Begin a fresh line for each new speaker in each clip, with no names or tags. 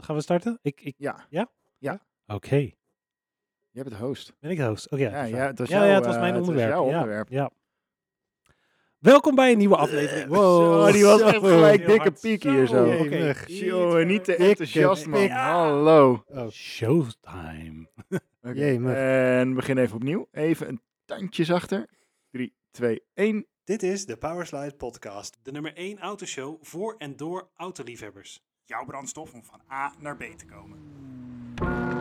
Gaan we starten? Ik, ik,
Ja,
Oké,
je bent de host.
ben ik de host? Oh ja,
Ja,
dat is
ja,
waar.
het was
ja, ja,
jouw,
het was
eh,
mijn
het was
onderwerp.
jouw
ja,
onderwerp.
Ja. Welkom bij een nieuwe aflevering. Wow,
Zo,
die was
even gelijk dikke piek hier zo.
Oké.
Jemig, Jongen, niet te
Dikke
enthousiast, man.
pik.
Hallo.
Oh.
Showtime.
Oké,
Jemig.
En we beginnen even opnieuw. Even een tandje zachter. 3, 2, 1.
Dit is de Powerslide Podcast.
De nummer 1 autoshow voor en door autoliefhebbers. Jouw brandstof om van A naar B te komen.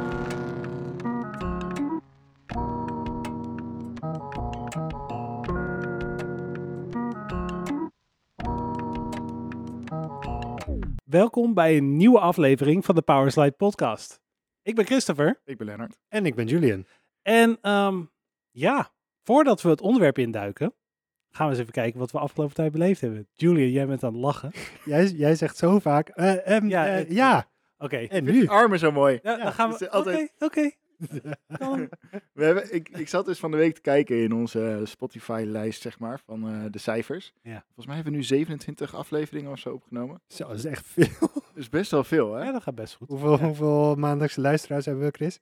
Welkom bij een nieuwe aflevering van de Powerslide Podcast. Ik ben Christopher
Ik ben Lennart.
En ik ben Julian.
en ehm, ja, voordat we het onderwerp induiken, gaan we eens even kijken wat we afgelopen tijd beleefd hebben. Julian, jij bent aan het lachen. Oké,
Jij, jij zegt zo vaak, eh, em,
Ja,
eh,
het-
ja. en nu?
Armen zo mooi.
nou, dan gaan
het
we.
is
Oké,
altijd-
oké. Kalm.
We hebben, ik, ik zat dus van de week te kijken in onze eh, Spotify-lijst, zeg maar, van eh, de cijfers.
Ja.
Volgens mij hebben we nu 27 afleveringen of zo opgenomen.
Zo, dat is echt veel.
Dat is best wel veel, hè?
Ja, dat gaat best goed.
Hoeveel, hoeveel maandagse luisteraars hebben we, Chris?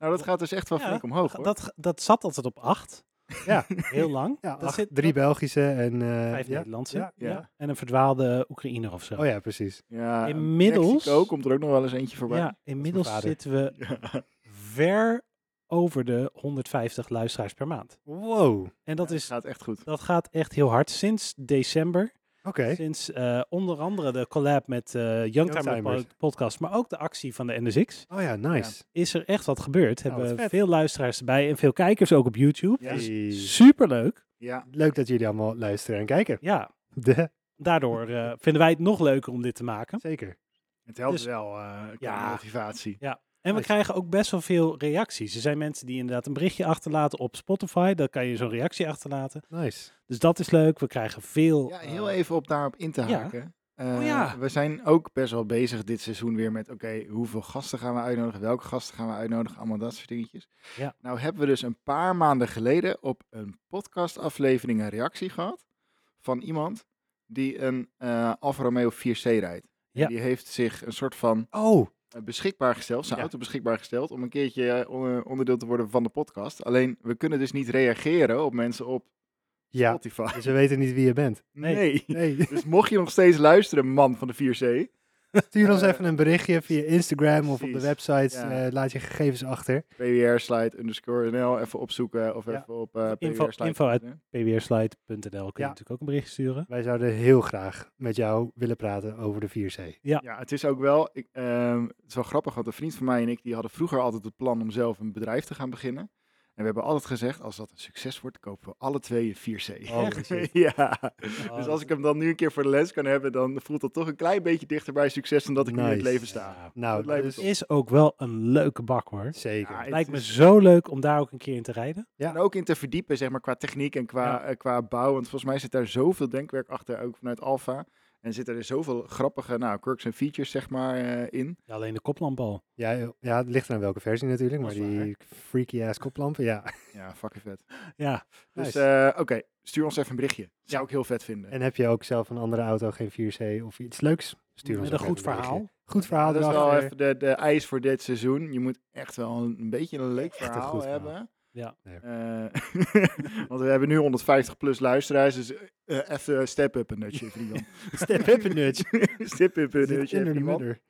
Nou, dat gaat dus echt wel
Ja,
flink omhoog,
Ga-
hoor.
Dat, dat zat altijd op acht.
Ja.
Heel lang.
Ja,
dat
acht-
zit-
drie
dat-
Belgische en... eh,
Vijf
ja.
Nederlandse. Ja,
Ja.
ja.
En een verdwaalde Oekraïner of zo.
Oh ja, precies.
Ja,
Inmiddels-
Mexico komt er ook nog wel eens eentje voorbij.
Ja, inmiddels
vader.
zitten we
Ja.
ver over de 150 luisteraars per maand.
Wow. Oké.
En dat,
Ja,
is,
gaat echt goed.
dat gaat echt heel hard. Sinds december, sinds eh, onder andere de collab met eh Youngtimer
Youngtimers.
po- Podcast, maar ook de actie van de NSX,
Oh ja, nice.
is er echt wat gebeurd. Hebben
Nou, wat vet.
veel luisteraars erbij en veel kijkers ook op YouTube.
Ja.
Dus
Hey.
superleuk.
Ja,
Leuk dat jullie allemaal luisteren en kijken.
Ja,
De,
daardoor eh, vinden wij het nog leuker om dit te maken.
zeker.
het helpt
Dus-
wel eh qua
Ja.
motivatie.
En we
Nice.
krijgen ook best wel veel reacties. Er zijn mensen die inderdaad een berichtje achterlaten op Spotify. Daar kan je zo'n reactie achterlaten.
Nice.
Dus dat is leuk. We krijgen veel.
Ja, heel
eh,
even op daarop in te
ja.
haken. Eh,
Oh ja.
We zijn ook best wel bezig dit seizoen weer met, oké, hoeveel gasten gaan we uitnodigen? Welke gasten gaan we uitnodigen? Allemaal dat soort dingetjes.
Ja.
Nou hebben we dus een paar maanden geleden op een podcastaflevering een reactie gehad van iemand die een eh Alfa Romeo 4C rijdt. En
Ja.
Die heeft zich een soort van
Oh,
eh, beschikbaar gesteld, zijn
Ja.
auto beschikbaar gesteld, om een keertje eh, on- onderdeel te worden van de podcast. Alleen, we kunnen dus niet reageren op mensen op
ja.
Spotify.
Ze weten niet wie je bent.
Nee.
nee.
Nee.
Dus mocht je nog steeds luisteren, man van de 4C.
Stuur ons
Eh,
even een berichtje via Instagram of op de
precies.
websites.
Ja.
eh, laat je gegevens achter.
PWR slide underscore NL. Even opzoeken of
Ja.
even op eh
Info-
PWR slide.
info uit-
zetten.
pwrslide.nl kun je natuurlijk ook een bericht sturen.
Wij zouden heel graag met jou willen praten over de 4C.
Ja.
Ja, het is ook wel. Ik, ehm, het is wel grappig, want een vriend van mij en ik die hadden vroeger altijd het plan om zelf een bedrijf te gaan beginnen. En we hebben altijd gezegd, als dat een succes wordt, kopen we alle twee een 4C.
Oh, shit.
ja.
Oh,
dus
dat-
als ik hem dan nu een keer voor de les kan hebben, dan voelt dat toch een klein beetje dichter bij succes dan dat ik nu in het
Nice.
leven sta.
Ja.
Nou,
Dat lijkt
dat
me
is
Is ook wel een leuke bak hoor.
zeker.
Ja, het
Lijkt me
is-
zo leuk om daar ook een keer in te rijden.
En ook in te verdiepen, zeg maar, qua techniek en qua, eh, qua bouw. Want volgens mij zit daar zoveel denkwerk achter, ook vanuit Alfa. En zitten er zoveel grappige, nou, quirks en features, zeg maar, eh, in.
Ja, alleen de koplamp al.
Ja, eh, ja, het ligt aan welke versie natuurlijk, maar
Dat is
die freaky ass koplampen, ja.
Ja, fucking vet.
Ja,
Dus,
Nice.
eh, oké, stuur ons even een berichtje. Zou ik heel vet vinden.
En heb je ook zelf een andere auto, geen 4C of iets leuks? Stuur ons
met een
ook
goed
even berichtje.
verhaal.
Goed eh, verhaal
dat is wel
erachter.
even de, de eis voor dit seizoen. Je moet echt wel een, een beetje een leuk
Echt een
verhaal
goed verhaal.
hebben.
Ja.
Ja.
Eh, want we hebben nu 150 plus luisteraars, dus eh, even step up een nutje, vrienden.
Step up een nudge.
step up een
Zit
nutje,
in de
vrienden.
modder.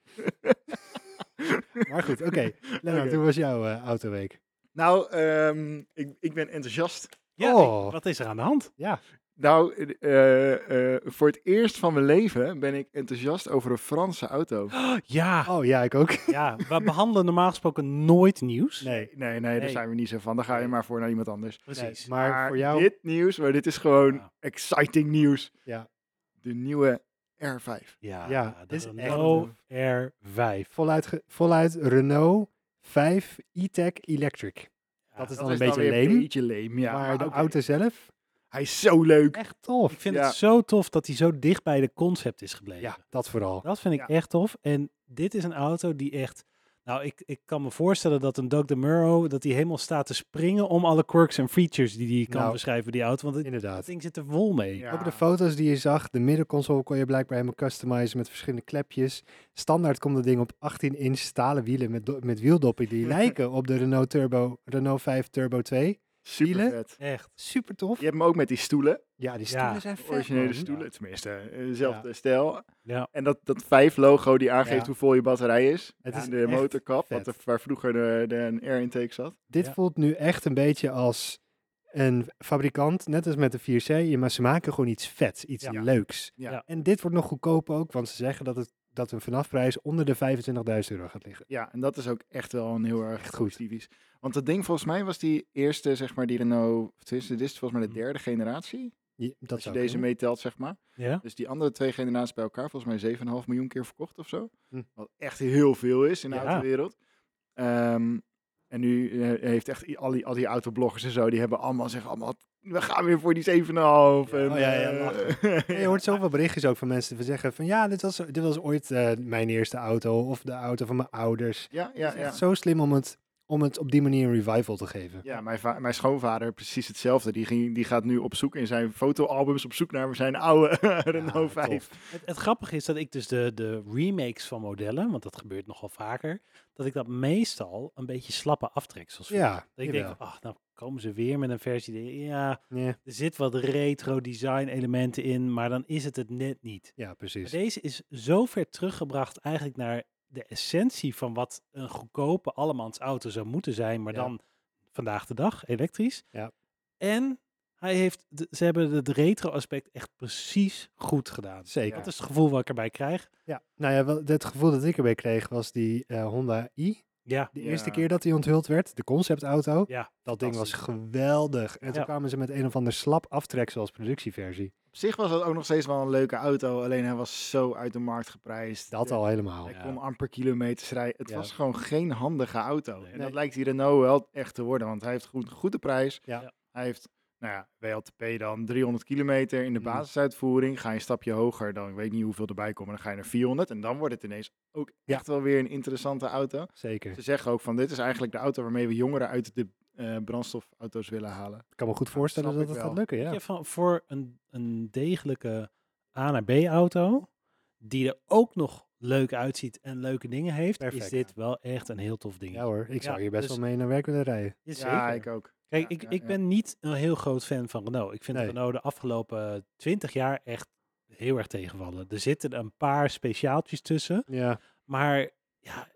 Maar goed, oké. Lennart,
Oké.
hoe was jouw eh, autoweek?
Nou, ehm, ik, ik ben enthousiast.
ja
Oh.
ik- wat is er aan de hand?
Ja,
Nou, eh, eh, voor het eerst van mijn leven ben ik enthousiast over een Franse auto.
Ja,
oh ja, ik ook.
ja, we behandelen normaal gesproken nooit nieuws.
Nee,
Nee, nee, daar
Nee.
zijn we niet zo van. Dan ga je
Nee.
maar voor naar iemand anders.
Precies.
Nee, maar, voor jou,
dit nieuws, maar dit is gewoon
Ja.
exciting nieuws.
Ja.
De nieuwe R5.
Ja,
Ja,
dat
dit is
is een
echt-
OR5.
voluit, ge- voluit Renault 5 E-Tech Electric. Dat is dan een beetje
weer
leem.
Een beetje leem, ja.
maar de
oké.
auto zelf,
Hij is zo leuk.
echt tof.
Ik vind
Ja.
het zo tof dat hij zo dicht bij de concept is gebleven.
Ja, dat vooral.
Dat vind ik
Ja.
echt tof. En dit is een auto die echt Nou, ik, ik kan me voorstellen dat een Doug DeMuro, dat hij helemaal staat te springen om alle quirks en features die hij kan
Nou,
beschrijven, die auto. Want het- dat
Inderdaad.
ding zit er vol mee.
Ja.
Ook de foto's die je zag, de middenconsole kon je blijkbaar helemaal customizen met verschillende klepjes. Standaard komt dat ding op 18 inch stalen wielen met, do- met wieldoppen die lijken op de Renault, Turbo, Renault 5 Turbo 2.
Super
Wielen?
vet.
Echt.
Super tof.
Je hebt hem ook met die stoelen.
Ja, die
Ja,
stoelen zijn
De
vet.
originele
man.
stoelen, tenminste, eh, dezelfde stijl.
Ja.
En dat, dat 5 logo die aangeeft
Ja.
hoe vol je batterij is.
Het
Het
is
de
echt
motorkap, wat
vet.
er- waar vroeger de, de een air intake zat.
Dit
Ja.
voelt nu echt een beetje als een fabrikant, net als met de 4C. je- Maar ze maken gewoon iets vets, iets
Ja.
leuks.
Ja.
Ja.
En dit wordt nog goedkoop ook, want ze zeggen dat, het, dat een vanafprijs onder de 25.000 euro gaat liggen.
Ja, en dat is ook echt wel een heel erg
Echt
goed.
goed.
typisch. Want dat ding volgens mij was die eerste, zeg maar, die Renault, of tenminste, dit is volgens mij de
Mhm.
derde generatie.
Je- dat
als je
zou
deze
kunnen.
meetelt, zeg maar.
Ja.
Dus die andere twee generaties bij elkaar, volgens mij 7,5 miljoen keer verkocht of zo.
Hm.
Wat echt heel veel is in de
Ja.
autowereld. Ehm, en nu eh, heeft echt i- al die, al die autobloggers en zo, die hebben allemaal zeggen allemaal, we gaan weer voor die 7,5. en,
oh ja, ja,
eh,
Ja, je hoort zoveel berichtjes ook van mensen die zeggen van ja, dit was, dit was ooit eh, mijn eerste auto of de auto van mijn ouders.
ja, ja,
Het is
ja.
echt zo slim om het, om het op die manier een revival te geven.
Ja, mijn, va- mijn schoonvader precies hetzelfde. Die, ging, die gaat nu op zoek in zijn fotoalbums op zoek naar zijn oude Renault
Ja,
5.
tof.
Het, het grappige is dat ik dus de, de remakes van modellen, want dat gebeurt nogal vaker, dat ik dat meestal een beetje slappe aftreksels vind.
Ja,
Dat ik denk, ach, nou komen ze weer met een versie die, ja,
ja,
er zit wat retro design elementen in, maar dan is het het net niet.
ja,
Maar
precies.
deze is zo ver teruggebracht eigenlijk naar de essentie van wat een goedkope allemans auto zou moeten zijn, maar
Ja.
dan vandaag de dag elektrisch.
Ja.
En hij heeft, de- ze hebben het retro aspect echt precies goed gedaan.
Zeker.
Dat is het gevoel wat ik erbij krijg.
Ja, nou ja, wel, het gevoel dat ik erbij kreeg was die eh, Honda i.
Ja,
De
Ja.
eerste keer dat die onthuld werd, de conceptauto.
ja.
dat ding was
fantastisch.
geweldig. En toen
Ja.
kwamen ze met een of ander slap aftreksel als productieversie.
Op zich was dat ook nog steeds wel een leuke auto, alleen hij was zo uit de markt geprijsd.
Dat al helemaal.
Hij
Ja.
kon amper kilometers rijden. Het
Ja.
was gewoon geen handige auto.
Nee.
En dat
Nee.
lijkt die Renault wel echt te worden, want hij heeft goed, goede prijs.
Ja.
Ja.
Hij heeft, nou ja, WLTP dan 300 kilometer in de
Mhm.
basisuitvoering. Ga je een stapje hoger, dan ik weet niet hoeveel erbij komt, maar dan ga je naar 400. En dan wordt het ineens ook
Ja.
echt wel weer een interessante auto.
Zeker.
Ze zeggen ook van, dit is eigenlijk de auto waarmee we jongeren uit de eh, brandstofauto's willen halen.
Ik kan
Nou,
me goed voorstellen
snap
dat
ik
het
wel.
gaat lukken,
Weet
ja.
je, van, voor een, een degelijke A naar B auto, die er ook nog leuk uitziet en leuke dingen heeft, is
Perfect.
dit wel echt een heel tof ding.
Ja hoor, ik zou
Ja,
hier best
dus-
wel mee naar werk willen rijden.
Ja, ik ook.
Kijk,
Ja,
ik,
ja,
ik
ja.
ben niet een heel groot fan van Renault. Ik vind
Nee.
Renault de afgelopen twintig jaar echt heel erg tegenvallen. Er zitten een paar speciaaltjes tussen,
Ja,
maar ja,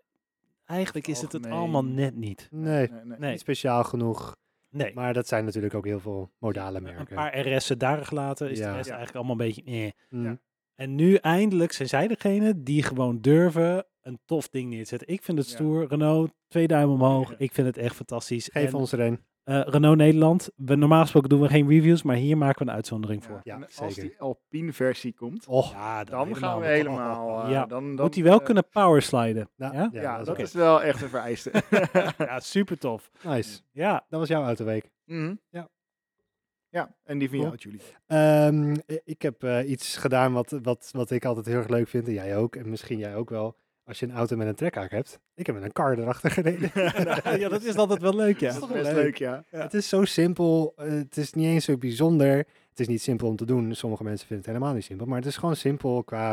eigenlijk is het het
Algemeen.
allemaal net niet.
nee,
Nee, nee.
Nee,
niet speciaal genoeg.
nee.
Maar dat zijn natuurlijk ook heel veel modale
Een
merken.
paar RS'en daar gelaten is de
Ja.
rest
Ja.
eigenlijk allemaal een beetje... eh.
Mm.
ja.
En nu eindelijk zijn zij degene die gewoon durven een tof ding neer te zetten. Ik vind het
Ja.
stoer. Renault, twee duimen omhoog.
Ja.
Ik vind het echt fantastisch.
Geef
En,
ons er een.
eh, Renault Nederland, we, normaal gesproken doen we geen reviews, maar hier maken we een uitzondering voor.
Ja,
en als
zeker.
die Alpine versie komt,
Och,
Ja,
dan gaan we
helemaal.
helemaal... eh,
Ja.
dan, dan,
Moet hij wel
eh,
kunnen powersliden.
nou,
Ja?
Ja,
is
dat
oké.
is wel echt een vereiste.
Ja, super tof.
Nice.
Ja,
Dat was jouw autoweek.
Mhm.
Ja.
Ja, en die van
Cool.
jou, Julie.
Ehm, i- ik heb eh, iets gedaan wat, wat, wat ik altijd heel erg leuk vind. En jij ook. En misschien jij ook wel. Als je een auto met een trekhaak hebt. Ik heb met een kar erachter gereden.
ja dat is altijd wel leuk, ja.
dat is
wel
best leuk,
leuk.
ja.
Het is zo simpel. eh, het is niet eens zo bijzonder. Het is niet simpel om te doen. Sommige mensen vinden het helemaal niet simpel. Maar het is gewoon simpel qua...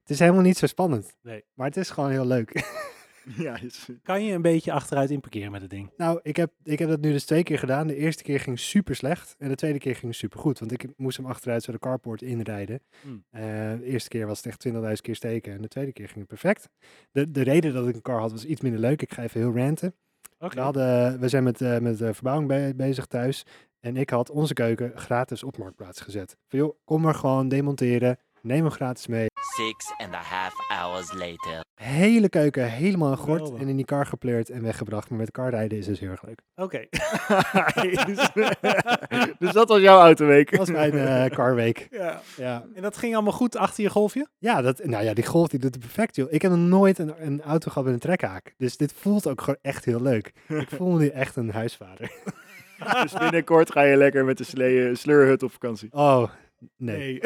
Het is helemaal niet zo spannend.
Nee.
Maar het is gewoon heel leuk.
ja is,
Kan je een beetje achteruit in parkeren met het ding?
Nou, ik heb, ik heb dat nu dus twee keer gedaan. De eerste keer ging super slecht en de tweede keer ging super goed. Want ik moest hem achteruit zo de carport inrijden.
Hmm.
Eh, de eerste keer was het echt 20.000 keer steken en de tweede keer ging het perfect. De, de reden dat ik een car had was iets minder leuk. Ik ga even heel ranten.
Oké.
We, hadden, we zijn met, eh, met de verbouwing be- bezig thuis. En ik had onze keuken gratis op marktplaats gezet. Van joh, kom maar gewoon demonteren. Neem hem gratis mee.
Six and a half hours later.
Hele keuken helemaal in gort
Geweldig.
en in die kar gepleurd en weggebracht. Maar met kar rijden is dus heel erg leuk.
Oké.
dus dat was jouw autoweek.
Dat was mijn eh carweek.
Ja.
Ja.
En dat ging allemaal goed achter je golfje?
Ja, dat, nou ja, die golf die doet het perfect, joh. Ik heb nog nooit een, een auto gehad met een trekhaak. Dus dit voelt ook gewoon echt heel leuk. Ik voel me nu echt een huisvader.
Dus binnenkort ga je lekker met de slee- sleurhut op vakantie.
Oh, nee. nee.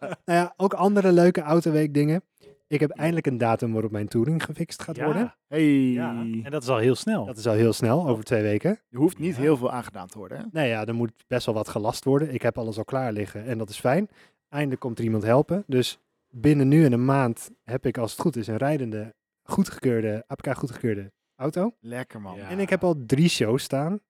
Nou ja, ook andere leuke autoweekdingen. Ik heb eindelijk een datum waarop mijn touring gefixt gaat
Ja,
worden.
Hey.
Ja, en dat is al heel snel.
Dat is al heel snel, over twee weken.
Je hoeft niet
Ja.
heel veel aangedaan te worden. Hè?
Nou ja, er moet best wel wat gelast worden. Ik heb alles al klaar liggen en dat is fijn. Eindelijk komt er iemand helpen. Dus binnen nu en een maand heb ik, als het goed is, een rijdende, goedgekeurde, APK goedgekeurde auto.
Lekker man.
Ja.
En ik heb al drie shows staan.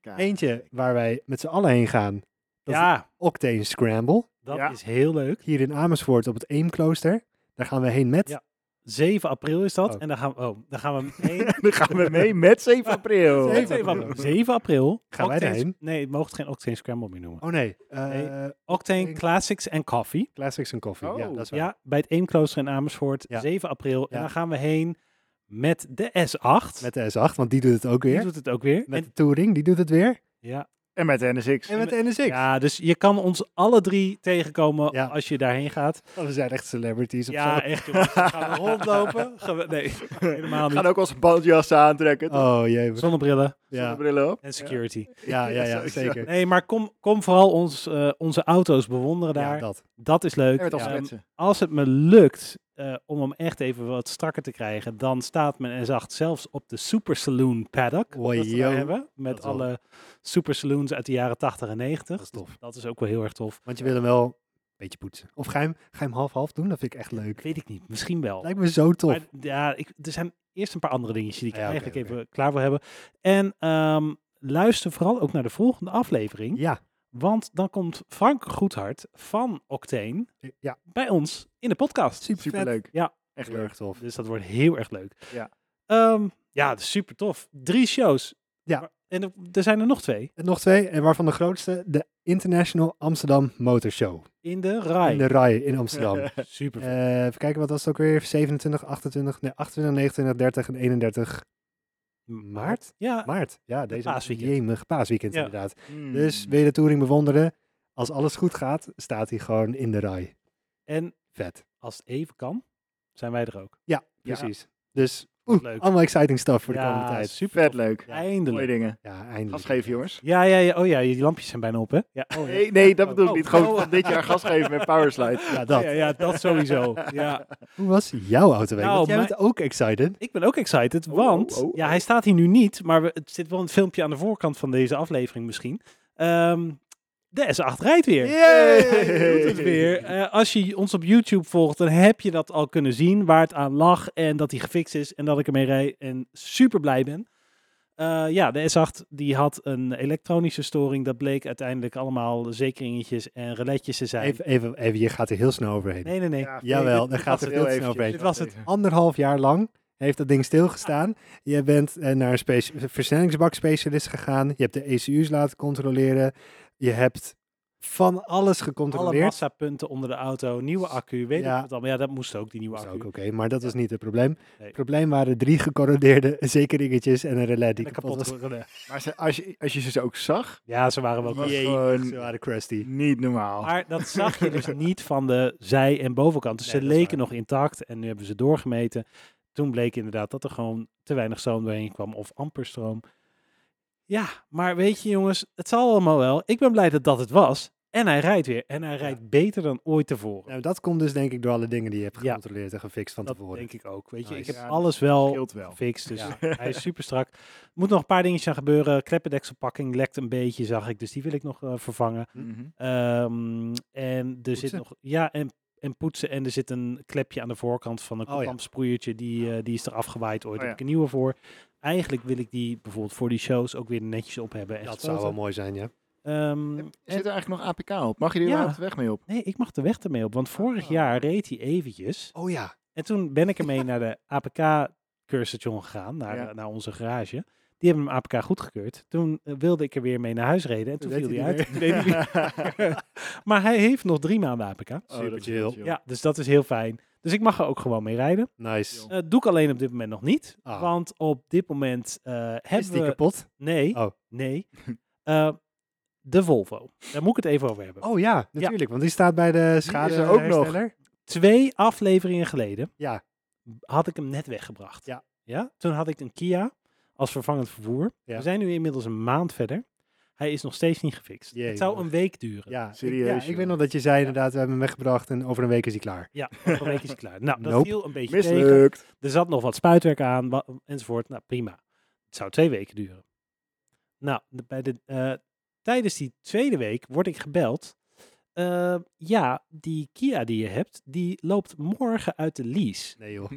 Kijk.
Eentje waar wij met z'n allen heen gaan. Dat is
ja,
Octane Scramble.
dat
Ja.
is heel leuk.
Hier in Amersfoort op het Eemklooster. Daar gaan we heen met.
Ja. 7 april is dat.
Oh.
En dan gaan we, oh, dan gaan we mee.
Dan gaan we mee met 7 april.
Zeven.
7 april. 7 april.
Gaan wij
Octane-
daarheen?
Nee, het mocht geen Octane Scramble meer noemen.
Oh nee, eh,
Nee. Octane
Octane-
Classics en Coffee.
Classics en Coffee. Ja,
Oh.
dat is waar.
Ja, bij het Eemklooster in Amersfoort.
Ja.
7 april. En
Ja.
dan gaan we heen met de S8.
Met de S8, want die doet het ook
Die
weer.
doet het ook weer.
Met
En,
de Touring, die doet het weer.
ja.
En met de NSX.
En met de NSX.
ja, dus je kan ons alle drie tegenkomen
Ja.
als je daarheen gaat.
Oh, we zijn echt celebrities of
Ja,
zo.
echt. jongens. We gaan we rondlopen. Gaan we- nee, helemaal
Gaan
niet.
ook onze badjassen aantrekken. toch?
Oh jee. we-
Zonnebrillen
Ja,
Zonnebril op.
en security.
ja, ja, ja,
Zo-
zeker.
Nee, maar kom, kom vooral ons, eh, onze auto's bewonderen daar.
Ja,
dat.
dat.
is
En
leuk.
met ons
Ehm,
kletsen.
als het me lukt eh, om hem echt even wat strakker te krijgen, dan staat mijn S8 zelfs op de Super Saloon paddock.
Wow,
dat we
yo.
daar hebben, met
Dat is wel-
alle Super Saloons uit de jaren 80 en 90.
Dat is tof.
Dat is ook wel heel erg tof.
Want je wil hem wel een beetje poetsen. Of ga je hem- ga je hem half-half doen? Dat vind ik echt leuk.
Weet ik niet, misschien wel.
Lijkt me zo tof.
Maar ja, ik, er zijn eerst een paar andere dingetjes die ik
Ja, oké,
eigenlijk
oké.
even klaar wil hebben. En ehm, luister vooral ook naar de volgende aflevering.
Ja,
Want dan komt Frank Goedhart van Octane
ja
bij ons in de podcast.
super
Superleuk.
Ja.
Echt
Heel
leuk.
erg tof.
Dus dat wordt heel erg leuk.
Ja.
Ehm, ja, dat is super tof. Drie shows.
Ja.
Maar- En er, er zijn er nog twee.
En nog twee, en waarvan de grootste, de International Amsterdam Motor Show.
In de rij.
In de RAI in Amsterdam.
Super.
Eh, even kijken, wat was het ook weer? 27, 28, nee, 28, 29, 30 en 31 maart.
ja,
Maart, ja, deze
Ah. paasweekend.
Jemig paasweekend
Ja. Mm.
inderdaad.
Hmm.
Dus wil je de touring bewonderen? Als alles goed gaat, staat hij gewoon in de rij.
en
Vet.
als het even kan, zijn wij er ook.
Ja,
Ja.
precies. Dus oeh,
Leuk.
allemaal exciting stuff voor de
Ja,
komende tijd.
Super.
Vet
tof.
leuk. Mooie
Eindelijk.
dingen.
Ja, eindelijk.
Gas geven, jongens.
Ja, ja, ja. Oh ja, die lampjes zijn bijna op, hè? Ja,
Nee, nee, dat bedoel ik
Oh.
niet. Gewoon
Oh.
van dit jaar gas geven met Powerslide.
Ja, dat.
ja, ja dat sowieso. Ja.
Hoe was jouw autoweek?
Nou,
Want jij
mijn-
bent ook excited.
Ik ben ook excited, want
oh, oh.
Ja, hij staat hier nu niet, maar we, het zit wel een filmpje aan de voorkant van deze aflevering misschien. Ehm, de S8 rijdt weer.
Yay!
Doet het weer. Eh, als je ons op YouTube volgt, dan heb je dat al kunnen zien. Waar het aan lag en dat hij gefixt is en dat ik ermee rijd en super blij ben. Eh, ja, de S8 die had een elektronische storing. Dat bleek uiteindelijk allemaal zekeringetjes en reletjes te zijn.
Even, even, even, je gaat er heel snel overheen.
Nee, nee, nee.
Ja,
Jawel,
dit-
daar
dit was
gaat het
het
heel
heel
snel
eventjes.
overheen.
Dit was het.
anderhalf jaar lang heeft dat ding stilgestaan. Je bent eh, naar een spe- versnellingsbakspecialist gegaan. Je hebt de ECU's laten controleren. Je hebt van alles
Alle
gecontroleerd.
massapunten onder de auto, nieuwe accu, weet
Ja.
ik wat allemaal. Ja, dat moest ook, die nieuwe
Dat is ook
accu.
oké, maar dat was niet het probleem.
Nee.
Het probleem waren drie gecorrodeerde zekeringetjes en een relais die
En
kapot,
kapot
was.
worden.
Maar ze- als je, als je ze ook zag,
Ja, ze waren wel
was
kapot.
Jee,
gewoon
Ze waren crusty.
niet normaal.
Maar dat zag je dus niet van de zij- en bovenkant. Dus
Nee,
ze
dat is
leken nog intact en nu hebben ze doorgemeten. Toen bleek inderdaad dat er gewoon te weinig stroom doorheen kwam of amper stroom. Ja, maar weet je jongens, het zal allemaal wel. Ik ben blij dat dat het was. En hij rijdt weer. En hij rijdt beter dan ooit tevoren.
Nou, dat komt dus denk ik door alle dingen die je hebt
Ja.
gecontroleerd en gefixt van
dat
tevoren.
denk ik ook. Weet je, ik
Nice.
heb
Ja,
alles wel
Scheelt wel.
gefixt. Dus
Ja.
hij is super strak. Er moet nog een paar dingetjes aan gebeuren. Kleppendekselpakking lekt een beetje, zag ik. Dus die wil ik nog eh, vervangen.
Mhm.
Ehm, en er zit
Poetsen?
nog. Ja, en, en poetsen. En er zit een klepje aan de voorkant van een
Oh ja.
koplampsproeiertje. Die, eh, die is er afgewaaid ooit.
Oh
Daar
ja.
heb ik een nieuwe voor. Eigenlijk wil ik die bijvoorbeeld voor die shows ook weer netjes op hebben. En
Dat zou wel
gespoten.
mooi zijn, ja.
Ehm,
Heb-
en-
Zit er eigenlijk nog APK op? Mag je er
Ja. Oh,
überhaupt de weg mee op?
nee, ik mag de weg ermee op. Want vorig jaar reed hij eventjes.
Oh ja,
En toen ben ik ermee naar de APK-curstation gegaan. Naar,
Ja.
naar onze garage. Die hebben hem APK goedgekeurd. Toen eh, wilde ik er weer mee naar huis reden. En toen,
Toen
viel hij
deed hij
uit. Deed hij niet meer. maar hij heeft nog drie maanden APK.
Oh, dat
super
is
chill.
heel chill.
Ja, dus dat is heel fijn. Dus ik mag er ook gewoon mee rijden.
Nice.
Joh.
Eh, doe ik alleen op dit moment nog niet.
Ah.
Want op dit moment eh
Is
hebben
die
we...
kapot?
Nee,
Oh.
nee. Eh, de Volvo. Daar moet ik het even over hebben.
Oh ja, natuurlijk. Want die staat bij de schade
er ook nog.
Twee afleveringen geleden
Ja.
had ik hem net weggebracht.
Ja.
ja? Toen had ik een Kia als vervangend vervoer.
Ja.
We zijn nu inmiddels een maand verder. Hij is nog steeds niet gefixt.
Jee,
het zou
man.
een week duren.
Ja, ik-
Serieus,
Ja, ik weet
joh.
nog dat je zei inderdaad, we hebben hem weggebracht en over een week is hij klaar.
Ja, over een week is hij klaar. Nou, dat
Nope.
viel een beetje tegen.
Mislukt.
Er zat nog wat spuitwerk aan wa- enzovoort. Nou, prima. Het zou twee weken duren. Nou, de- bij de, eh, tijdens die tweede week word ik gebeld. Eh, ja, die Kia die je hebt, die loopt morgen uit de lease.
Nee joh.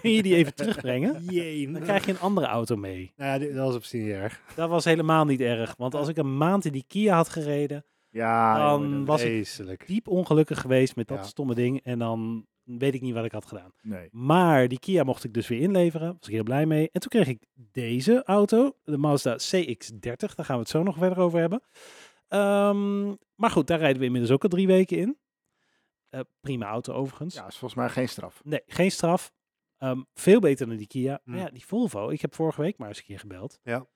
Kun je die even terugbrengen?
Jee.
Dan krijg je een andere auto mee.
Nou ja, dit- dat was op zich niet erg.
Dat was helemaal niet erg. Want als ik een maand in die Kia had gereden,
Ja,
Dan
jongen, dat-
Was het-
Vreselijk.
diep ongelukkig geweest met dat
Ja.
stomme ding. En dan weet ik niet wat ik had gedaan.
nee.
Maar die Kia mocht ik dus weer inleveren. Was ik heel blij mee. En toen kreeg ik deze auto, de Mazda CX-30. Daar gaan we het zo nog verder over hebben. Ehm, maar goed, daar rijden we inmiddels ook al drie weken in. Eh, prima auto overigens.
Ja, is volgens mij geen straf.
Nee, geen straf. Ehm, veel beter dan die Kia. Maar
Hm.
ja, die Volvo. Ik heb vorige week maar eens een keer gebeld.
Ja.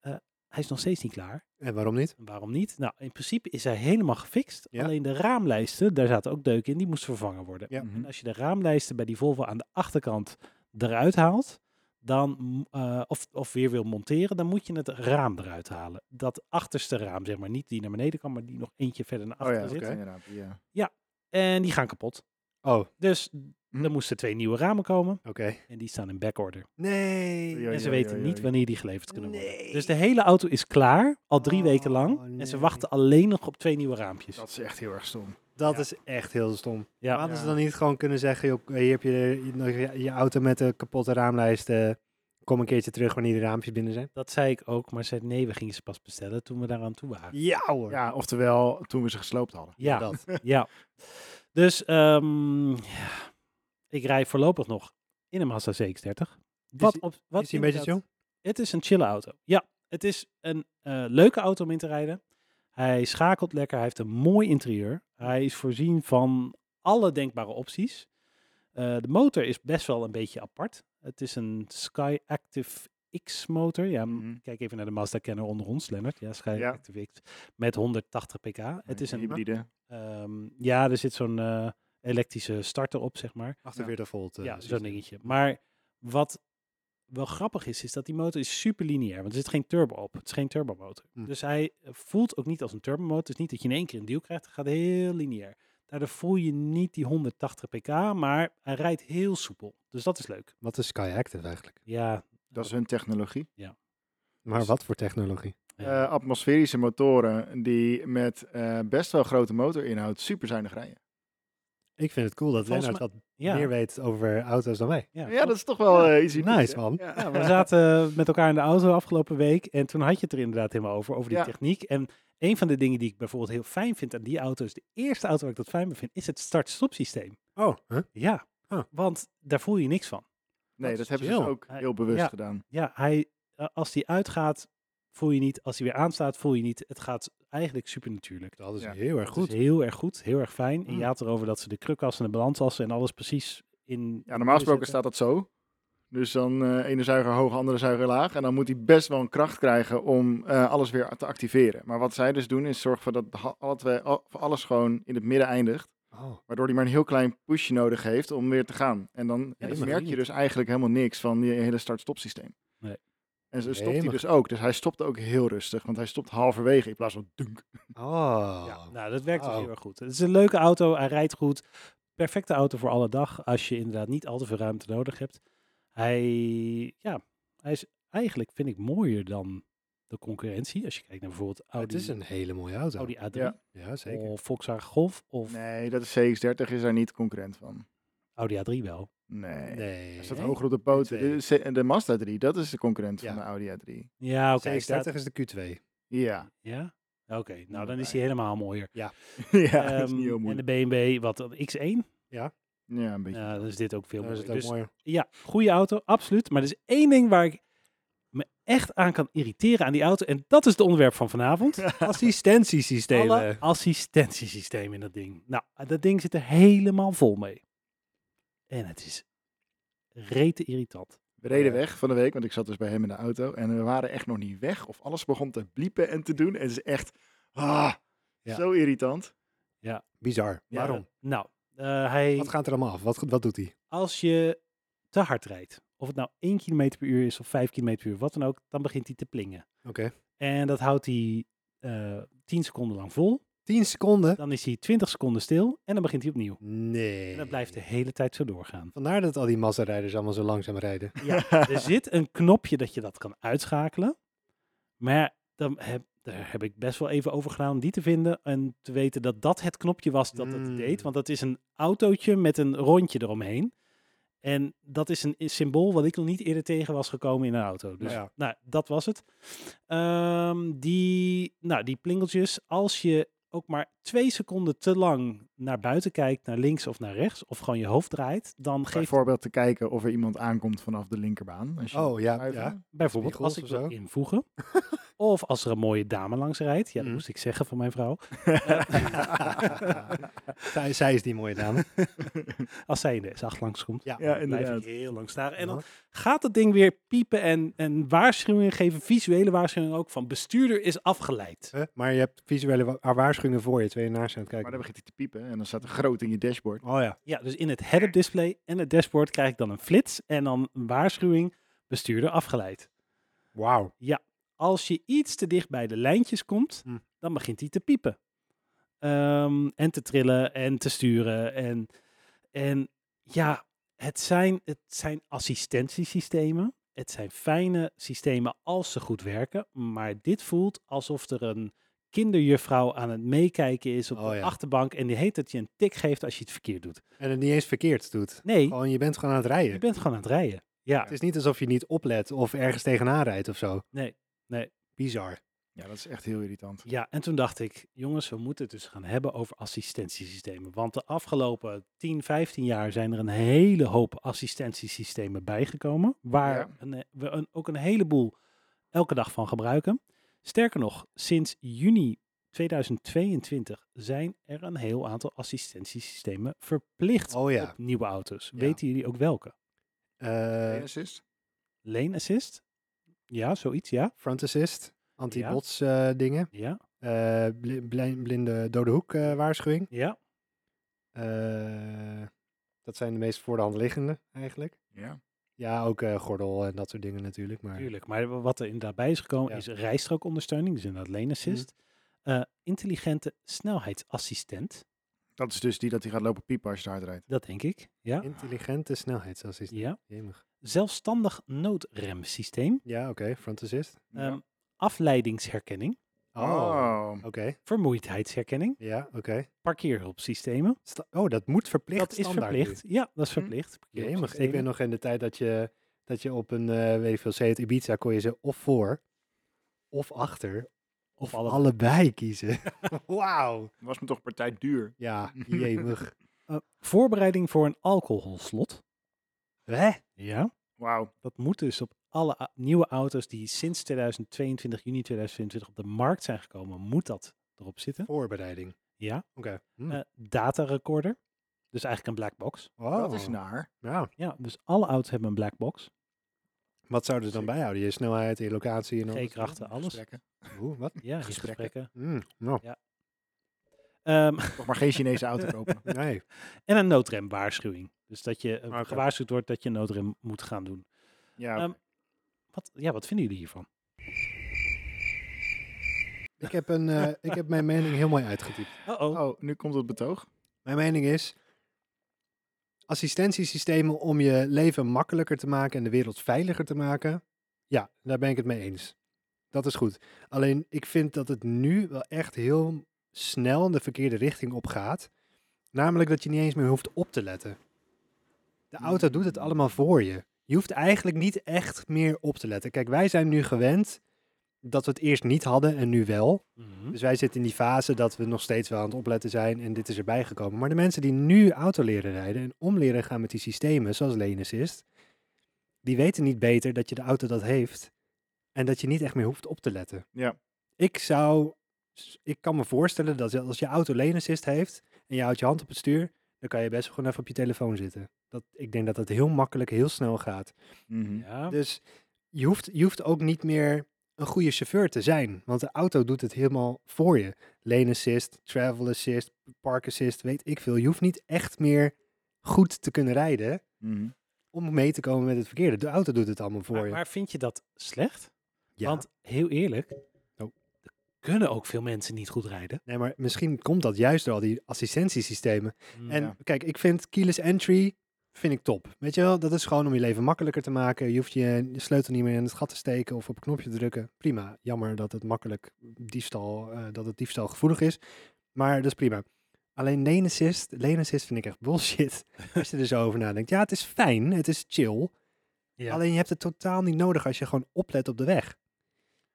Eh, hij is nog steeds niet klaar.
En waarom niet?
En Waarom niet? Nou, in principe is hij helemaal gefixt.
Ja.
Alleen de raamlijsten, daar zaten ook deuken in, die moesten vervangen worden.
Ja.
Mhm.
En als je de raamlijsten bij die Volvo aan de achterkant eruit haalt, dan, m- eh, of, of weer wil monteren, dan moet je het raam eruit halen. Dat achterste raam, zeg maar. Niet die naar beneden kan, maar die nog eentje verder naar
Oh
achteren
ja,
zit.
oké, inderdaad. Ja.
En die gaan kapot.
Oh, oké.
Dus
Mhm.
er moesten twee nieuwe ramen komen. En die staan in backorder.
Nee.
Ja,
En ze
ja,
weten
ja, ja,
niet
ja.
wanneer die geleverd kunnen
Nee.
worden. Dus de hele auto is klaar, al drie weken lang.
Oh,
En ze
nee.
wachten alleen nog op twee nieuwe raampjes.
Dat is echt heel erg stom.
Dat
Ja.
is echt heel stom.
Ja.
Hadden ze
Ja.
dan niet gewoon kunnen zeggen, joh, hier heb je je, je auto met de kapotte raamlijst. eh, kom een keertje terug wanneer de raampjes binnen zijn.
Dat zei ik ook, maar zei nee, we gingen ze pas bestellen toen we daaraan toe waren.
Ja hoor.
Ja, oftewel toen we ze gesloopt hadden.
Ja, ja.
Dat.
Dus ehm, ja, ik rij voorlopig nog in een Mazda CX-30. Wat
die-
op, wat
is hij een beetje
inderdaad-
chill?
Het is een chille auto. Ja, het is een eh, leuke auto om in te rijden. Hij schakelt lekker, hij heeft een mooi interieur. Hij is voorzien van alle denkbare opties. Eh, de motor is best wel een beetje apart. Het is een Sky Active X motor. Ja, m-
Mhm.
kijk even naar de Mazda kenner onder ons, Lennart. Ja, Sky
Ja.
Active X met 180 pk. het is een
hybride.
ehm, ja, er zit zo'n eh, elektrische starter op, zeg maar.
48 volt. eh,
ja,
precies.
zo'n dingetje. Maar wat wel grappig is, is dat die motor is super lineair. Want er zit geen turbo op. Het is geen turbomotor.
Hm.
Dus hij eh, voelt ook niet als een turbomotor. Het is niet dat je in één keer een duw krijgt. Het gaat heel lineair. Daardoor voel je niet die 180 pk, maar hij rijdt heel soepel. Dus dat is leuk.
Wat is Sky Active eigenlijk?
Ja,
Dat is hun technologie.
Maar wat voor technologie?
ja.
Eh, atmosferische motoren die met eh, best wel grote motorinhoud superzuinig rijden.
Ik vind het cool dat
Volgens
Lennart wat
ja.
meer weet over auto's dan wij.
ja.
Ja, dat is toch wel eh, iets unieks,
Nice
hè?
man.
Ja.
Ja, we zaten met elkaar in de auto afgelopen week en toen had je het er inderdaad helemaal over, over die
Ja.
techniek. En een van de dingen die ik bijvoorbeeld heel fijn vind aan die auto, is de eerste auto waar ik dat fijn bij vind, is het start-stop systeem.
Oh, huh?
Ja,
Huh.
want daar voel je niks van.
Nee,
Wat
dat hebben ze dus
chill.
ook
Hij-
heel bewust
ja.
gedaan.
Ja, hij, eh, als die uitgaat, voel je niet. Als hij weer aanstaat, voel je niet. Het gaat eigenlijk super natuurlijk.
dat is
Ja.
heel erg goed.
heel erg goed, heel erg fijn. En
Mm.
je had erover dat ze de krukassen en de balansassen en alles precies in...
Ja, normaal gesproken staat dat zo. Dus dan eh ene zuiger hoog, andere zuiger laag. En dan moet hij best wel een kracht krijgen om eh, alles weer te activeren. Maar wat zij dus doen is zorgen voor dat ha- alle twee, al- voor alles gewoon in het midden eindigt.
Oh.
Waardoor hij maar een heel klein pushje nodig heeft om weer te gaan. En dan
Ja,
eh,
dat
merk
doe
je
je
dus eigenlijk helemaal niks van die hele start-stop systeem.
Nee.
En zo
Nee,
stopt hij
maar-
dus ook. Dus hij stopt ook heel rustig. Want hij stopt halverwege in plaats van dunk.
Oh.
Ja, nou, dat werkt dus
Wauw.
heel erg goed. Het is een leuke auto, hij rijdt goed. Perfecte auto voor alle dag, als je inderdaad niet al te veel ruimte nodig hebt. Hij, ja, hij is eigenlijk, vind ik, mooier dan de concurrentie. Als je kijkt naar bijvoorbeeld
Oh, het
Audi,
is een hele mooie auto.
Audi A3
Ja.
Ja, zeker.
of Volkswagen Golf of
Nee, dat is CX-30 is daar niet concurrent van.
Audi A3 wel. Oh,
Nee.
Nee.
Hij staat
Nee.
hoger op de poot.
Twee.
De, C- de Mazda 3, dat is de concurrent
Ja.
van de Audi A3.
Ja, oké. hij
CX-30
staat-
is de Q2.
Ja.
Ja? Oké, nou dan is hij helemaal mooier.
ja, dat is
Ehm,
niet heel
en de
moeilijk.
BMW, wat, dan, X1?
Ja, een beetje.
Ja, dan is dit ook veel
Dan Nou, is het
mooier.
ook
Dus
mooier.
Ja, goede auto, absoluut. Maar er is één ding waar ik me echt aan kan irriteren aan die auto. En dat is het onderwerp van vanavond. Alle
Assistentiesystemen.
assistentiesysteem in dat ding. Nou, dat ding zit er helemaal vol mee. En het is rete irritant.
We reden
Ja.
weg van de week, want ik zat dus bij hem in de auto. En we waren echt nog niet weg. Of alles begon te bliepen en te doen. En het is echt ah,
Ja.
zo irritant.
Bizar.
Ja,
Waarom?
Nou, eh, hij,
Wat gaat er allemaal af? Wat, wat doet hij?
als je te hard rijdt, of het nou 1 km per uur is of 5 km per uur, wat dan ook, dan begint hij te plingen.
Oké.
En dat houdt hij eh 10 seconden lang vol.
10 seconden?
Dan is hij 20 seconden stil en dan begint hij opnieuw.
Nee.
En dat blijft de hele tijd zo doorgaan.
Vandaar dat al die Mazda-rijders allemaal zo langzaam rijden.
Ja, er zit een knopje dat je dat kan uitschakelen. Maar dan heb, daar heb ik best wel even over gedaan om die te vinden. En te weten dat dat het knopje was dat het
Mm.
deed. Want dat is een autootje met een rondje eromheen. En dat is een symbool wat ik nog niet eerder tegen was gekomen in een auto. Dus
Ja.
nou, dat was het. Ehm, die, nou, die plingeltjes, als je ook maar twee seconden te lang naar buiten kijkt, naar links of naar rechts, of gewoon je hoofd draait, dan geeft
Bijvoorbeeld te kijken of er iemand aankomt vanaf de linkerbaan. Als je
Oh, ja,
schuiven.
ja.
Bijvoorbeeld
Spiegels
als ik
of
wil
zo.
invoegen. of als er een mooie dame langs rijdt. Ja, dat
Mm.
moest ik zeggen van mijn vrouw.
zij, zij is die mooie dame.
Als zij in de S8 langskomt.
Ja.
Ja,
dan blijf ik
inderdaad.
heel lang staan. En
Ja.
dan gaat dat ding weer piepen en, en waarschuwingen geven. Visuele waarschuwingen ook van bestuurder is afgeleid.
Huh? maar je hebt visuele wa- waarschuwingen voor je, twee naast je aan het
Maar dan
kijken.
begint hij te piepen en dan staat er groot in je dashboard.
Oh ja.
Ja, dus in het head-up display en het dashboard krijg ik dan een flits. En dan een waarschuwing bestuurder afgeleid.
Wauw.
Als je iets te dicht bij de lijntjes komt,
Mm.
dan begint hij te piepen. Ehm, en te trillen en te sturen. En, en ja, het zijn, het zijn assistentiesystemen. Het zijn fijne systemen als ze goed werken. Maar dit voelt alsof er een kinderjuffrouw aan het meekijken is op
Oh
de
ja.
achterbank. En die heet dat je een tik geeft als je het verkeerd doet.
En het niet eens verkeerd doet.
Nee,
Gewoon, je bent gewoon aan het
je
rijden.
bent gewoon aan het rijden. Ja,
Oh, Het is niet alsof je niet oplet of ergens tegenaan rijdt of zo.
Nee, nee.
Bizar.
Ja, dat is echt heel irritant.
Ja, en toen dacht ik, jongens, we moeten het dus gaan hebben over assistentiesystemen. Want de afgelopen 10, 15 jaar zijn er een hele hoop assistentiesystemen bijgekomen. Waar
Ja.
een, eh, we een- ook een heleboel elke dag van gebruiken. Sterker nog, sinds juni 2022 zijn er een heel aantal assistentiesystemen verplicht
Oh ja.
op nieuwe auto's.
Ja.
Weten jullie ook welke?
Eh,
Genesis?
Lane assist? Ja, zoiets, ja.
front assist, anti-bots eh, dingen,
Ja,
eh, bli- bli- blinde dode hoek eh, waarschuwing.
ja.
Eh, dat zijn de meest voor de hand liggende eigenlijk.
Ja.
Ja, ook eh, gordel en dat soort dingen natuurlijk. Maar
Tuurlijk, maar wat er inderdaad bij is gekomen
Ja. Mhm.
is rijstrookondersteuning, dus inderdaad lane assist. Eh, intelligente snelheidsassistent,
Dat is dus die dat hij gaat lopen piepen als je te hard rijdt.
dat denk ik. Ja,
intelligente snelheidsassistent.
ja.
Jemig.
Zelfstandig noodremsysteem,
Ja, oké, front assist.
Ja.
Ehm, afleidingsherkenning,
Oh.
Oké,
vermoeidheidsherkenning,
ja, oké.
parkeerhulpsystemen.
Sta- Oh, dat moet verplicht
Dat is
standaard dus. nu.
verplicht. Ja, dat is
Hm.
verplicht.
Jemig. Ik
Parkeerhulpsystemen.
ben nog in de tijd dat je, dat je op een, eh weet ik veel, Seat Ibiza kon je ze of voor, of achter,
Of
of
allebei.
allebei kiezen. Wauw.
Was me toch partij duur.
Ja, jemig.
Eh, voorbereiding voor een alcoholslot.
Hè?
Ja.
Wauw.
Dat moet dus op alle a- nieuwe auto's die sinds 2022, juni 2022 op de markt zijn gekomen, moet dat erop zitten.
Voorbereiding.
Ja.
Oké. Hm.
eh data recorder. Dus eigenlijk een black box.
Wow.
Dat
nou
is naar.
Ja.
Ja, dus alle auto's hebben een black box.
Wat zouden ze dan bijhouden? Je snelheid, je locatie en alles.
G-krachten, alles.
Gesprekken.
Oeh, wat?
Ja, je
Gesprekken.
gesprekken.
Mm, nou,
Ehm,
Toch maar geen Chinese auto kopen.
nee.
en een noodremwaarschuwing. Dus dat je eh,
Oké.
gewaarschuwd wordt dat je een noodrem moet gaan doen.
Ja,
Ehm, Wat, ja, wat vinden jullie hiervan?
Ik heb, een, eh, ik heb mijn mening heel mooi uitgetypt.
Oh, oh.
Oh, nu komt het betoog.
Mijn mening is assistentiesystemen om je leven makkelijker te maken en de wereld veiliger te maken. Ja, daar ben ik het mee eens. Dat is goed. Alleen ik vind dat het nu wel echt heel snel de verkeerde richting op gaat. Namelijk dat je niet eens meer hoeft op te letten. De auto doet het allemaal voor je. Je hoeft eigenlijk niet echt meer op te letten. Kijk, wij zijn nu gewend dat we het eerst niet hadden en nu wel.
Mhm.
Dus wij zitten in die fase dat we nog steeds wel aan het opletten zijn en dit is erbij gekomen. Maar de mensen die nu auto leren rijden en om leren gaan met die systemen, zoals Lane Assist, die weten niet beter dat je de auto dat heeft en dat je niet echt meer hoeft op te letten.
Ja.
Ik zou, ik kan me voorstellen dat als je auto Lane Assist heeft en je houdt je hand op het stuur, dan kan je best wel gewoon even op je telefoon zitten. Dat, ik denk dat dat heel makkelijk, heel snel gaat.
Mhm.
Ja,
Dus je hoeft, je hoeft ook niet meer een goede chauffeur te zijn, want de auto doet het helemaal voor je. Lane assist, travel assist, park assist, weet ik veel. Je hoeft niet echt meer goed te kunnen rijden
Mhm.
om mee te komen met het verkeerde. De auto doet het allemaal voor
maar,
je.
maar vind je dat slecht?
ja.
Want heel eerlijk,
Oh.
de kunnen ook veel mensen niet goed rijden.
Nee, maar misschien komt dat juist door al die assistentiesystemen.
Mm,
en
Ja.
kijk, ik vind keyless entry vind ik top. Weet je wel, dat is gewoon om je leven makkelijker te maken. Je hoeft je sleutel niet meer in het gat te steken of op een knopje te drukken. Prima. Jammer dat het makkelijk diefstal, eh, dat het diefstal gevoelig is. Maar dat is prima. Alleen lane assist, lane assist vind ik echt bullshit. als je er zo over nadenkt. Ja, het is fijn, het is chill.
Ja.
Alleen je hebt het totaal niet nodig als je gewoon oplet op de weg.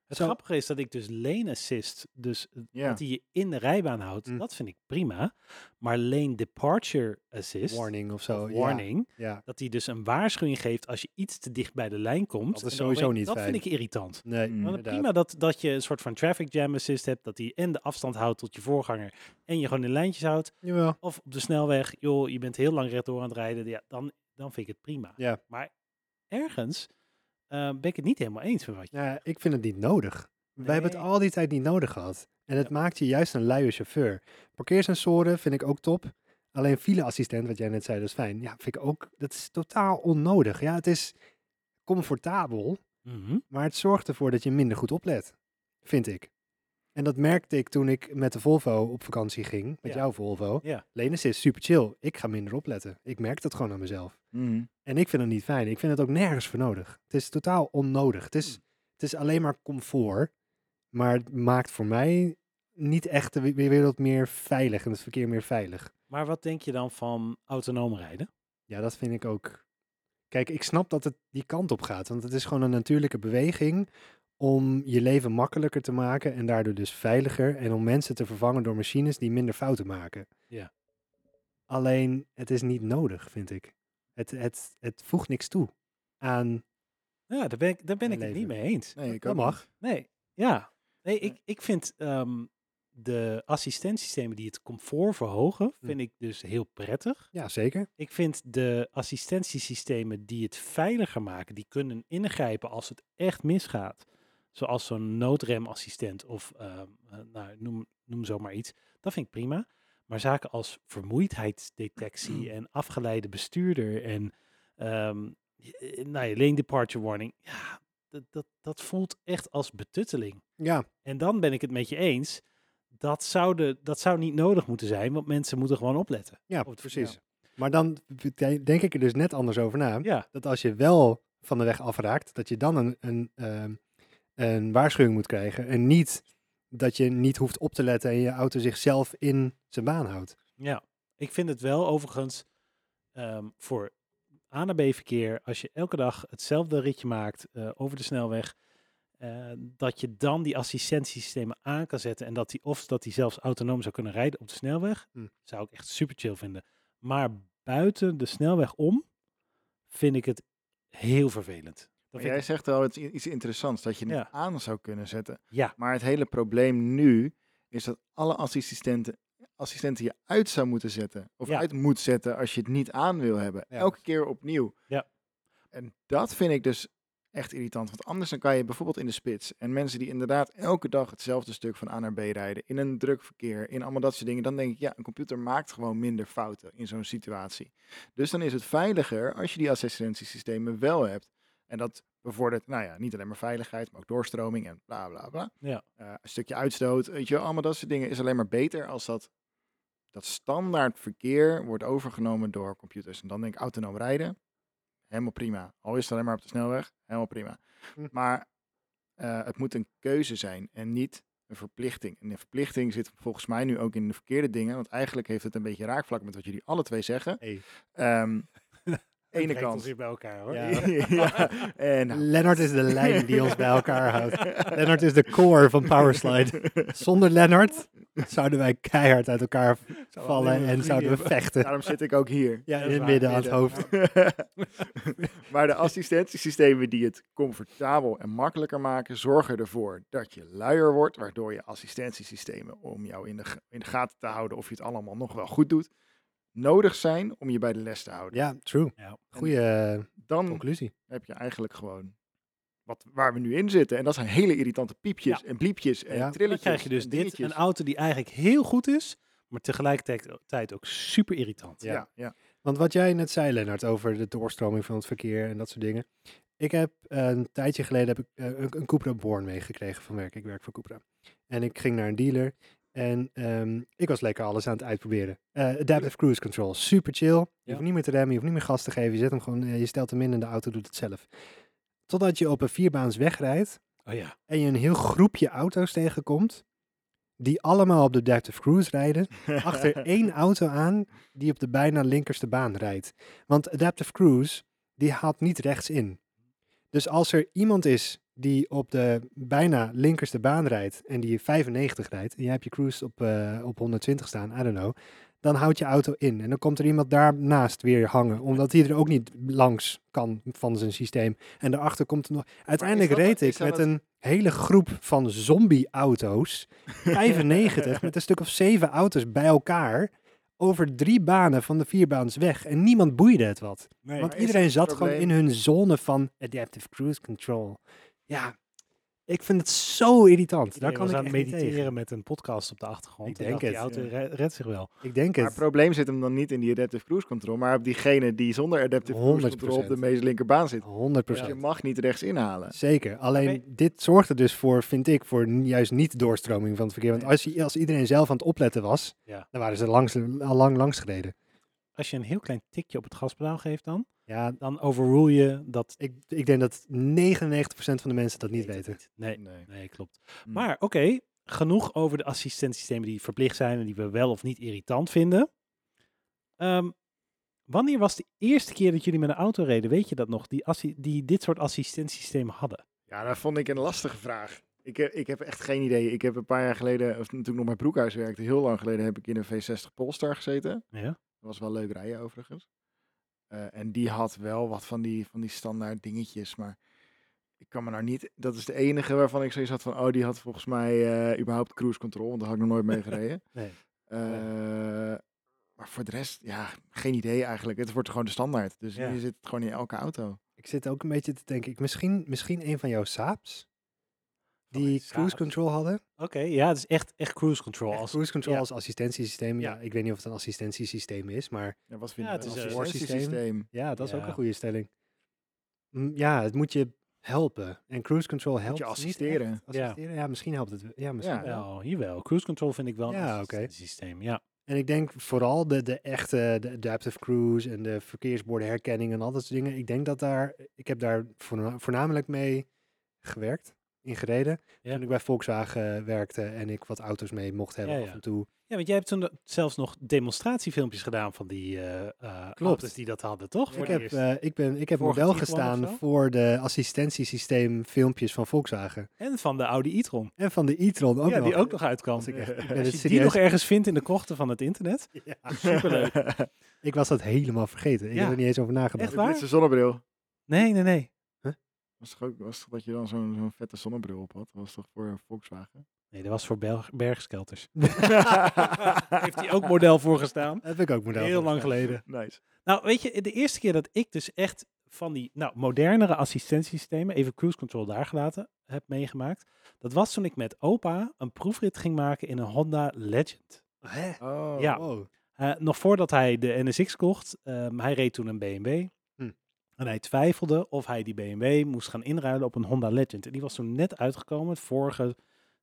Het
Zo.
grappige is dat ik dus lane assist, dus
Ja.
dat hij je in de rijbaan houdt,
Mm.
dat vind ik prima. Maar lane departure assist,
Warning of zo.
of
ja,
warning,
ja.
dat hij dus een waarschuwing geeft als je iets te dicht bij de lijn komt.
Dat is
En dan
sowieso
weet-
niet
Dat
fijn.
vind ik irritant.
Nee,
Mm.
Maar
inderdaad.
prima dat, dat je een soort van traffic jam assist hebt, dat hij en de afstand houdt tot je voorganger en je gewoon in lijntjes houdt.
Jawel.
Of op de snelweg, joh, je bent heel lang rechtdoor aan het rijden, ja, dan, dan vind ik het prima.
Ja.
Maar ergens eh, ben ik het niet helemaal eens met wat je...
Nou ja, ik vind het niet nodig. Wij hebben het
Nee.
al die tijd niet nodig gehad. En het maakt je juist een luie chauffeur. Parkeersensoren vind ik ook top. Alleen fileassistent, wat jij net zei, dat is fijn. Ja, vind ik ook, dat is totaal onnodig. Ja, het is comfortabel,
Mhm.
maar het zorgt ervoor dat je minder goed oplet. Vind ik. En dat merkte ik toen ik met de Volvo op vakantie ging. Met
Ja.
jouw Volvo.
Ja.
Lenus is super chill. Ik ga minder opletten. Ik merk dat gewoon aan mezelf.
Mhm.
En ik vind het niet fijn. Ik vind het ook nergens voor nodig. Het is totaal onnodig. Het
Hmm.
is, het is alleen maar comfort. Maar het maakt voor mij niet echt de we- wereld meer veilig en het verkeer meer veilig.
Maar wat denk je dan van autonoom rijden?
Ja, dat vind ik ook. Kijk, ik snap dat het die kant op gaat. Want het is gewoon een natuurlijke beweging om je leven makkelijker te maken en daardoor dus veiliger. En om mensen te vervangen door machines die minder fouten maken.
Ja.
Alleen, het is niet nodig, vind ik. Het, het, het voegt niks toe aan
Ja, daar ben ik, daar ben
Ja,
ik het niet
leven.
mee eens.
Nee, ik
Dat
ook
mag.
niet.
Nee, ja. Nee,
Nee.
ik, ik vind ehm, de assistentiesystemen die het comfort verhogen,
Hm.
vind ik dus heel prettig.
Ja, zeker.
Ik vind de assistentiesystemen die het veiliger maken, die kunnen ingrijpen als het echt misgaat. Zoals zo'n noodremassistent of ehm, eh, nou, noem, noem zomaar iets. Dat vind ik prima. Maar zaken als vermoeidheidsdetectie en afgeleide bestuurder en ehm, je- eh, nou ja, lane departure warning. Ja, dat, dat, dat voelt echt als betutteling.
Ja,
En dan ben ik het met je eens. Dat zou, de, dat zou niet nodig moeten zijn, want mensen moeten gewoon opletten.
ja
Op het-
precies. Maar dan de- denk ik er dus net anders over na.
Ja,
Dat als je wel van de weg afraakt, dat je dan een, een, ehm, een waarschuwing moet krijgen. En niet dat je niet hoeft op te letten en je auto zichzelf in zijn baan houdt.
ja. Ik vind het wel overigens ehm, voor A naar B verkeer, als je elke dag hetzelfde ritje maakt eh, over de snelweg, eh, dat je dan die assistentiesystemen aan kan zetten en dat die of dat die zelfs autonoom zou kunnen rijden op de snelweg,
Hm.
zou ik echt super chill vinden. Maar buiten de snelweg om vind ik het heel vervelend. Dat
Maar
vind
jij
ik,
zegt wel iets, iets interessants, dat je het
Ja.
aan zou kunnen zetten.
Ja.
Maar het hele probleem nu is dat alle assistenten, assistenten je uit zou moeten zetten. Of
Ja.
uit moet zetten als je het niet aan wil hebben.
Ja.
Elke keer opnieuw.
Ja.
En dat vind ik dus echt irritant. Want anders dan kan je bijvoorbeeld in de spits. En mensen die inderdaad elke dag hetzelfde stuk van A naar B rijden. In een druk verkeer. In allemaal dat soort dingen. Dan denk ik, ja, een computer maakt gewoon minder fouten in zo'n situatie. Dus dan is het veiliger als je die assistentiesystemen wel hebt. En dat bevordert, nou ja, niet alleen maar veiligheid, maar ook doorstroming en bla bla bla.
Ja.
Eh, een stukje uitstoot, weet je, wel, allemaal dat soort dingen is alleen maar beter als dat, dat standaard verkeer wordt overgenomen door computers. En dan denk ik, autonoom rijden, helemaal prima. Al is het alleen maar op de snelweg, helemaal prima.
Hm.
Maar eh, het moet een keuze zijn en niet een verplichting. En de verplichting zit volgens mij nu ook in de verkeerde dingen, want eigenlijk heeft het een beetje raakvlak met wat jullie alle twee zeggen.
Hey.
Ehm, ene
brengt
kant.
ons weer bij elkaar hoor.
Ja.
ja, en nou,
Lennart is de lijn die ons bij elkaar houdt. Lennart is de core van Powerslide. Zonder Lennart zouden wij keihard uit elkaar vallen en zouden we vechten.
Daarom zit ik ook hier.
Ja, in
is
het
waar,
midden aan het hoofd.
maar de assistentiesystemen die het comfortabel en makkelijker maken, zorgen ervoor dat je luier wordt, waardoor je assistentiesystemen om jou in de, g- in de gaten te houden of je het allemaal nog wel goed doet, nodig zijn om je bij de les te houden.
Ja, true.
Ja.
Goeie eh,
Dan
conclusie.
heb je eigenlijk gewoon wat, waar we nu in zitten. En dat zijn hele irritante piepjes en bliepjes en
Ja. Dan
Dan
trilletjes.
krijg je dus
en
dit,
dingetjes.
een auto die eigenlijk heel goed is, maar tegelijkertijd ook super irritant.
Ja.
ja, ja.
Want wat jij net zei, Lennart, over de doorstroming van het verkeer en dat soort dingen. Ik heb eh, een tijdje geleden heb ik, eh, een, een Cupra Born meegekregen van werk. Ik werk voor Cupra. En ik ging naar een dealer en ehm, ik was lekker alles aan het uitproberen. Eh, adaptive Cruise Control, super chill. Je hoeft niet meer te remmen, je hoeft niet meer gas te geven. Je, zet hem gewoon, eh, je stelt hem in en de auto doet het zelf. Totdat je op een vierbaans wegrijdt
Oh ja.
en je een heel groepje auto's tegenkomt. Die allemaal op de Adaptive Cruise rijden. Achter één auto aan die op de bijna linkerste baan rijdt. Want Adaptive Cruise, die haalt niet rechts in. Dus als er iemand is die op de bijna linkerste baan rijdt. En die 95 rijdt. En jij hebt je cruise op, eh, op 120 staan, I don't know. Dan houdt je auto in. En dan komt er iemand daarnaast weer hangen. Omdat hij er ook niet langs kan van zijn systeem. En daarachter komt er nog... Uiteindelijk
dat-
reed
is
ik
dat
met
het-
een hele groep van zombie-auto's. 95 met een stuk of zeven auto's bij elkaar. Over drie banen van de vierbaans weg. En niemand boeide het wat.
Nee.
Want
maar is
iedereen
dat
zat
het
gewoon in
probleem?
hun zone van adaptive cruise control. Ja, ik vind het zo irritant. Daar
Iedereen
kan
was
ik
aan het
echt niet
mediteren
tegen.
met een podcast op de achtergrond.
Ik
en
denk
dacht,
het,
Die auto re- redt zich wel.
Ik denk
Maar het
het.
probleem zit hem dan niet in die adaptive cruise control, maar op diegene die zonder adaptive cruise control op de
100%.
meest linkerbaan zit.
100
Dus je mag niet rechts inhalen.
Zeker. Alleen dit zorgde dus voor, vind ik, voor n- juist niet doorstroming van het verkeer. Want
Nee.
als, je- als iedereen zelf aan het opletten was,
Ja.
dan waren ze langs, al lang langs gereden.
Als je een heel klein tikje op het gaspedaal geeft dan,
Ja,
dan overrule je dat
ik, ik denk dat 99% van de mensen dat niet weten.
Nee,
Nee.
nee klopt.
Hmm.
Maar oké, genoeg over de assistentiesystemen die verplicht zijn en die we wel of niet irritant vinden. Ehm, wanneer was de eerste keer dat jullie met een auto reden, weet je dat nog, die, assi- die dit soort assistentiesystemen hadden?
Ja, dat vond ik een lastige vraag. Ik heb, ik heb echt geen idee. Ik heb een paar jaar geleden, of toen ik nog bij Broekhuis werkte, heel lang geleden heb ik in een V60 Polestar gezeten.
Ja.
Dat was wel leuk rijden overigens. Eh, en die had wel wat van die, van die standaard dingetjes, maar ik kan me nou niet... Dat is de enige waarvan ik zoiets had van, oh, die had volgens mij eh, überhaupt cruise control, want daar had ik nog nooit mee gereden.
Nee.
Eh, Maar voor de rest, ja, geen idee eigenlijk. Het wordt gewoon de standaard. Dus
Ja.
nu zit het gewoon in elke auto.
Ik zit ook een beetje te denken, ik, misschien, misschien een van jouw Saabs,
Van
die
mijn
cruise
Saab?
control hadden.
Oké, ja, het is echt, echt cruise control.
Echt
als,
cruise control
ja.
als assistentiesysteem. Ja.
Ja.
ik weet niet of het een assistentiesysteem is, maar
Ja, wat
vind
vind
Ja,
je
je het van is een
een
systeem.
systeem?
ja, dat is ook
Ja.
een goede stelling. Mm, Ja, het moet je helpen. En cruise control helpt
je
niet echt.
assisteren.
Ja.
assisteren. Ja. misschien helpt het. wel. Ja, misschien
Ja.
wel.
Oh, Wel, jawel. Cruise control vind ik wel
Ja,
een
oké.
assistentiesysteem. Ja,
En ik denk vooral de, de echte de adaptive cruise en de verkeersbordenherkenning en al dat soort dingen. Ik denk dat daar, ik heb daar voorna- voornamelijk mee gewerkt, in gereden.
Ja.
Toen ik bij Volkswagen eh, werkte en ik wat auto's mee mocht hebben
Ja,
af
ja.
en toe.
ja, want jij hebt toen zelfs nog demonstratiefilmpjes gedaan van die eh, eh,
Klopt.
auto's die dat hadden, toch? Voor
Ik
de
heb,
eerste.
eh, ik, ben, ik heb
Vorige
model
Tiguan of
gestaan
zo?
voor de assistentiesysteem filmpjes van Volkswagen.
eh, en van de Audi e-tron.
En van de e-tron ook
ja,
nog.
die ook nog uit kan.
Als ik, echt, ik ben
Als
het
je die nog
serieus.
ergens vindt in de krochten van het internet.
Ja.
Superleuk.
Ik was dat helemaal vergeten. Ik
Ja.
heb er niet eens over nagedacht.
Echt waar?
Met zijn zonnebril.
Nee, nee, nee.
Was toch ook was toch dat je dan zo'n zo'n vette zonnebril op had? Dat was toch voor Volkswagen?
Nee, dat was voor Belg- bergskelters. Heeft hij ook model voor gestaan?
Heb ik ook model.
Heel
voor.
lang geleden.
nice.
Nou, weet je, de eerste keer dat ik dus echt van die nou, modernere assistentiesystemen, even cruise control daar gelaten, heb meegemaakt. Dat was toen ik met opa een proefrit ging maken in een Honda Legend.
Hè?
Oh,
Ja.
Wow.
Eh, nog voordat hij de NSX kocht, ehm, hij reed toen een BMW.
Hm.
En hij twijfelde of hij die BMW moest gaan inruilen op een Honda Legend. En die was toen net uitgekomen, het vorige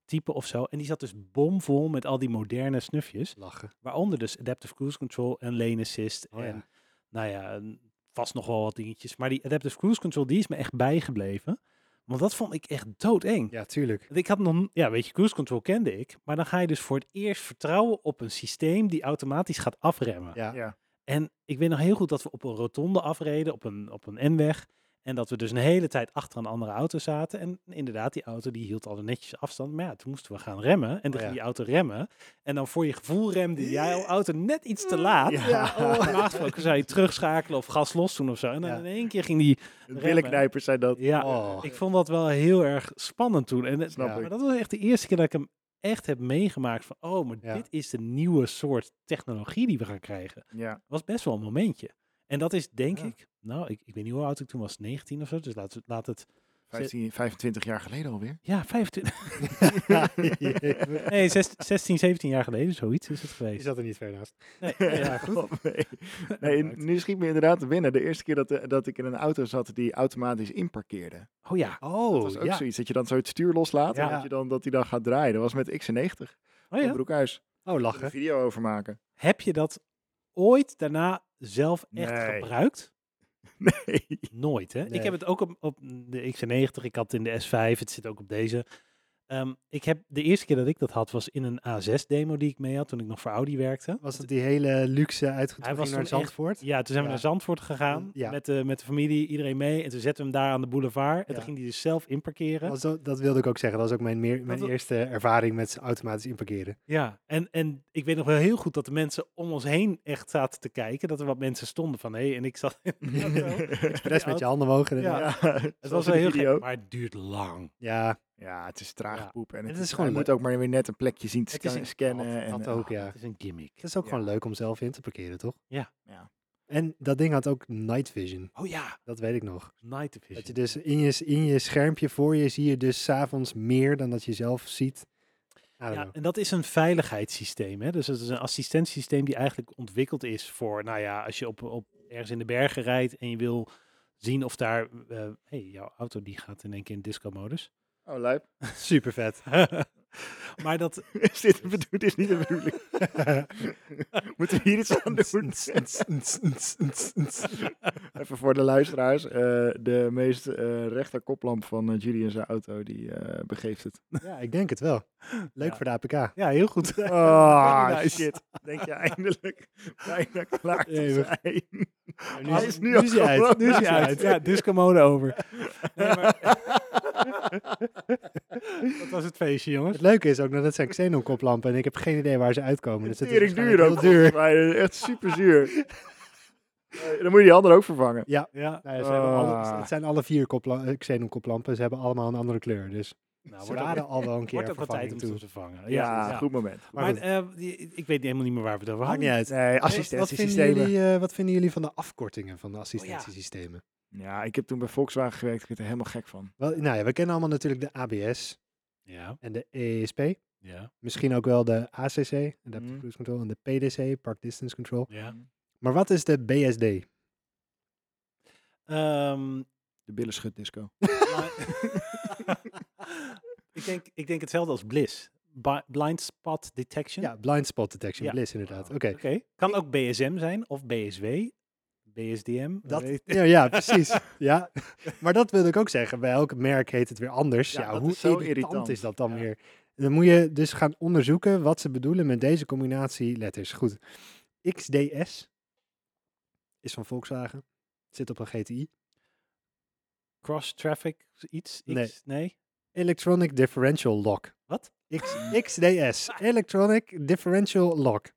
type of zo. En die zat dus bomvol met al die moderne snufjes.
Lachen.
Waaronder dus Adaptive Cruise Control en Lane Assist.
Oh ja.
en nou ja, en vast nog wel wat dingetjes. Maar die Adaptive Cruise Control, die is me echt bijgebleven. Want dat vond ik echt doodeng.
Ja, tuurlijk.
Want Ik had nog, n- ja, weet je, cruise control kende ik. Maar dan ga je dus voor het eerst vertrouwen op een systeem die automatisch gaat afremmen.
Ja.
Ja.
En ik weet nog heel goed dat we op een rotonde afreden, op een, op een N-weg. En dat we dus een hele tijd achter een andere auto zaten. En inderdaad, die auto die hield al netjes afstand. Maar ja, toen moesten we gaan remmen.
Oh
En dan
ja.
ging die auto remmen. En dan voor je gevoel remde jij al auto net iets te laat.
Ja.
Oh, normaal gesproken zou je terugschakelen of gas los doen of zo. En dan
Ja.
in één keer ging die...
Billenknijpers zijn dat.
Ja,
Oh.
ik vond dat wel heel erg spannend toen. En het-
Snap
Ja.
ik.
maar dat was echt de eerste keer dat ik hem echt heb meegemaakt van, oh, maar
Ja.
dit is de nieuwe soort technologie die we gaan krijgen.
Ja.
was best wel een momentje. En dat is denk
Ja.
ik, nou, ik, ik weet niet hoe oud ik toen was, 19 of zo, dus laat, laat het
15, 25 jaar geleden alweer.
Ja, 25.
Jee,
Nee, 16, 17 jaar geleden, zoiets is het
Je
geweest.
zat er niet ver naast.
Nee,
Ja, goed.
Oh, nee. Nee, nu schiet me inderdaad te binnen. De eerste keer dat, eh, dat ik in een auto zat die automatisch inparkeerde.
Oh ja.
Oh,
Dat was ook
ja.
zoiets. Dat je dan zo het stuur loslaat
Ja.
en dat, je dan, dat die dan gaat draaien. Dat was met X90
Oh
van
ja.
Broekhuis.
Oh,
Daar een
lachen.
video over maken.
Heb je dat ooit daarna zelf echt
Nee.
gebruikt?
Nee.
Nooit, hè?
Nee.
Ik heb het ook op, op de X90, ik had het in de S5, het zit ook op deze. Ehm, ik heb, de eerste keer dat ik dat had, was in een A6-demo die ik mee had toen ik nog voor Audi werkte.
Was dat die hele luxe uitgetrokken
was
naar
toen echt-
Zandvoort?
Ja, toen zijn we
Ja.
naar Zandvoort gegaan
Ja.
met, de, met de familie, iedereen mee. En toen zetten we hem daar aan de boulevard. En
Ja.
toen ging hij dus zelf inparkeren.
Was dat, dat wilde ik ook zeggen. Dat was ook mijn, meer, mijn
wa-
eerste ervaring met automatisch inparkeren.
Ja, en, en ik weet nog wel heel goed dat de mensen om ons heen echt zaten te kijken. Dat er wat mensen stonden van, hé, en ik zat... in de auto.
Best met je handen omhoog. en-
Ja.
Ja.
Het was
zoals in
wel
de
heel
video.
gek, maar het duurt lang.
Ja, het is traag
Ja.
poep. En het,
Het
is
is gewoon
je moet
leuk.
ook maar weer net een plekje zien te
Het is
scan-
een-
scannen. En,
dat
eh,
ook, ja.
Het is een gimmick.
Het is ook
Ja.
gewoon leuk om zelf in te parkeren, toch?
Ja.
Ja.
En dat ding had ook night vision.
Oh ja,
Dat weet ik nog.
Night Vision.
Dat je dus in je, in je schermpje voor je zie je dus s'avonds meer dan dat je zelf ziet. I don't
Ja,
know.
en dat is een veiligheidssysteem. Hè? Dus het is een assistentiesysteem die eigenlijk ontwikkeld is voor, nou ja, als je op, op ergens in de bergen rijdt en je wil zien of daar, eh hey, jouw auto die gaat in één keer in disco-modus.
Oh, lijp.
Super vet.
maar dat,
is dit, de bedoeling? dit is niet de bedoeling. Moeten we hier iets aan doen? Even voor de luisteraars. eh, de meest eh rechter koplamp van eh, Judy in zijn auto, die eh, begeeft het.
ja, ik denk het wel. Leuk
Ja.
voor de APK.
ja, heel goed. Oh,
Ah, shit. Denk je eindelijk bijna klaar te
Eeuwig.
zijn.
Nu
Hij
is-
is nu
nu
al
is hij uit.
gewoon-
Nu is hij uit. Ja, disco-mode over. Nee, maar- dat was het feestje, jongens.
Het leuke is ook dat het zijn xenon koplampen en ik heb geen idee waar ze uitkomen. Dus het is
Tering duur
waarschijnlijk
ook.
heel duur.
Maar, echt super zuur. Eh, dan moet je die andere ook vervangen.
Ja,
Nou ja, ze hebben alle-
Ah.
het zijn alle vier kopla- eh, xenon koplampen. Ze hebben allemaal een andere kleur. Dus
nou,
ze
wordt ook-
waren al wel een keer
wordt ook wel tijd
vervanging
om
toe.
te vervangen. Ja,
Ja,
ja.
goed moment.
Maar,
Maar goed.
eh, die- ik weet helemaal niet meer waar we het over
Maakt
hadden.
niet uit. Eh,
Nee,
Wat vinden,
assistentiesystemen.
jullie, eh, wat vinden jullie van de afkortingen van de assistentiesystemen?
Ja, ik heb toen bij Volkswagen gewerkt. Ik werd er helemaal gek van.
Wel, nou ja, we kennen allemaal natuurlijk de ABS
Ja,
en de ESP.
ja,
Misschien ook wel de ACC, Adaptive
Mhm.
Cruise Control, en de PDC, Park Distance Control.
ja.
Maar wat is de BSD?
Ehm,
De billenschutdisco.
ik, denk, ik denk hetzelfde als Bliss. Bi- blind spot detection.
Ja, Oh, blind spot detection,
Ja.
bliss inderdaad. Oké.
Oké. Kan ook BSM zijn of BSW. BSDM.
Dat,
weet-
ja, ja, precies. Ja. Maar dat wil ik ook zeggen. Bij elk merk heet het weer anders.
Ja,
Ja,
dat
hoe
is zo
irritant,
irritant.
is dat dan
Ja.
weer? Dan moet je dus gaan onderzoeken wat ze bedoelen met deze combinatie letters. Goed. XDS is van Volkswagen. Zit op een GTI.
Cross traffic iets.
Nee.
X, nee.
Electronic Differential Lock.
Wat?
X, XDS. Electronic Differential Lock.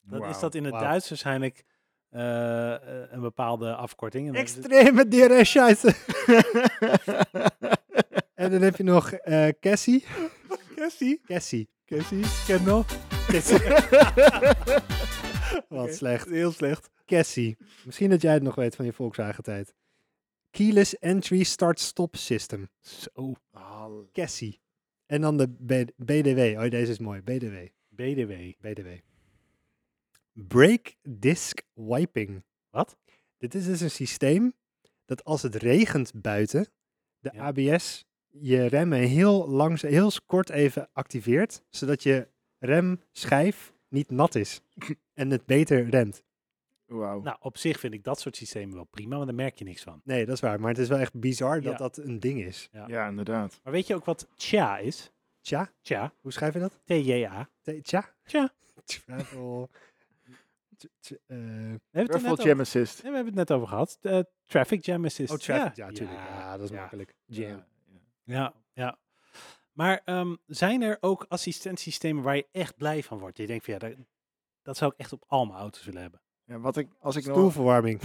Dan is dat in het
wauw.
Duits waarschijnlijk eh, eh, een bepaalde afkorting. En dan is het-
Extreme DRS-scheiße. en dan heb je nog eh Cassie. Cassie? Cassie.
Cassie, ken nog.
Wat
Oké.
slecht.
Heel slecht.
Cassie. Misschien dat jij het nog weet van je Volkswagen-tijd. Keyless Entry Start Stop System.
Zo.
Cassie. En dan de B- BDW. Oh, deze is mooi. BDW.
BDW.
BDW. Brake Disc Wiping.
Wat?
Dit is dus een systeem dat als het regent buiten, de
Ja.
ABS je remmen heel, langs, heel kort even activeert, zodat je remschijf niet nat is en het beter remt.
Wauw.
Nou, op zich vind ik dat soort systemen wel prima, want daar merk je niks van.
Nee, dat is waar, maar het is wel echt bizar dat
Ja.
dat een ding is.
ja.
Ja, inderdaad.
Maar weet je ook wat TJA is?
Tja,
TJA.
hoe schrijf je dat?
T-J-A.
T- Tja?
Tja.
Travel. T- t- eh,
We hebben het er
Ruffle
net
Jam
over,
Assist.
Nee, we hebben het net over gehad. Eh, traffic Jam Assist.
oh, traffic. Ja,
Ja,
natuurlijk. Ja, dat is
ja.
makkelijk.
Ja.
Ja, ja. Maar ehm, zijn er ook assistentiesystemen waar je echt blij van wordt? Je denkt van ja, dat, dat zou ik echt op al mijn auto's willen hebben.
Ja, wat ik, als ik nog...
Stoelverwarming.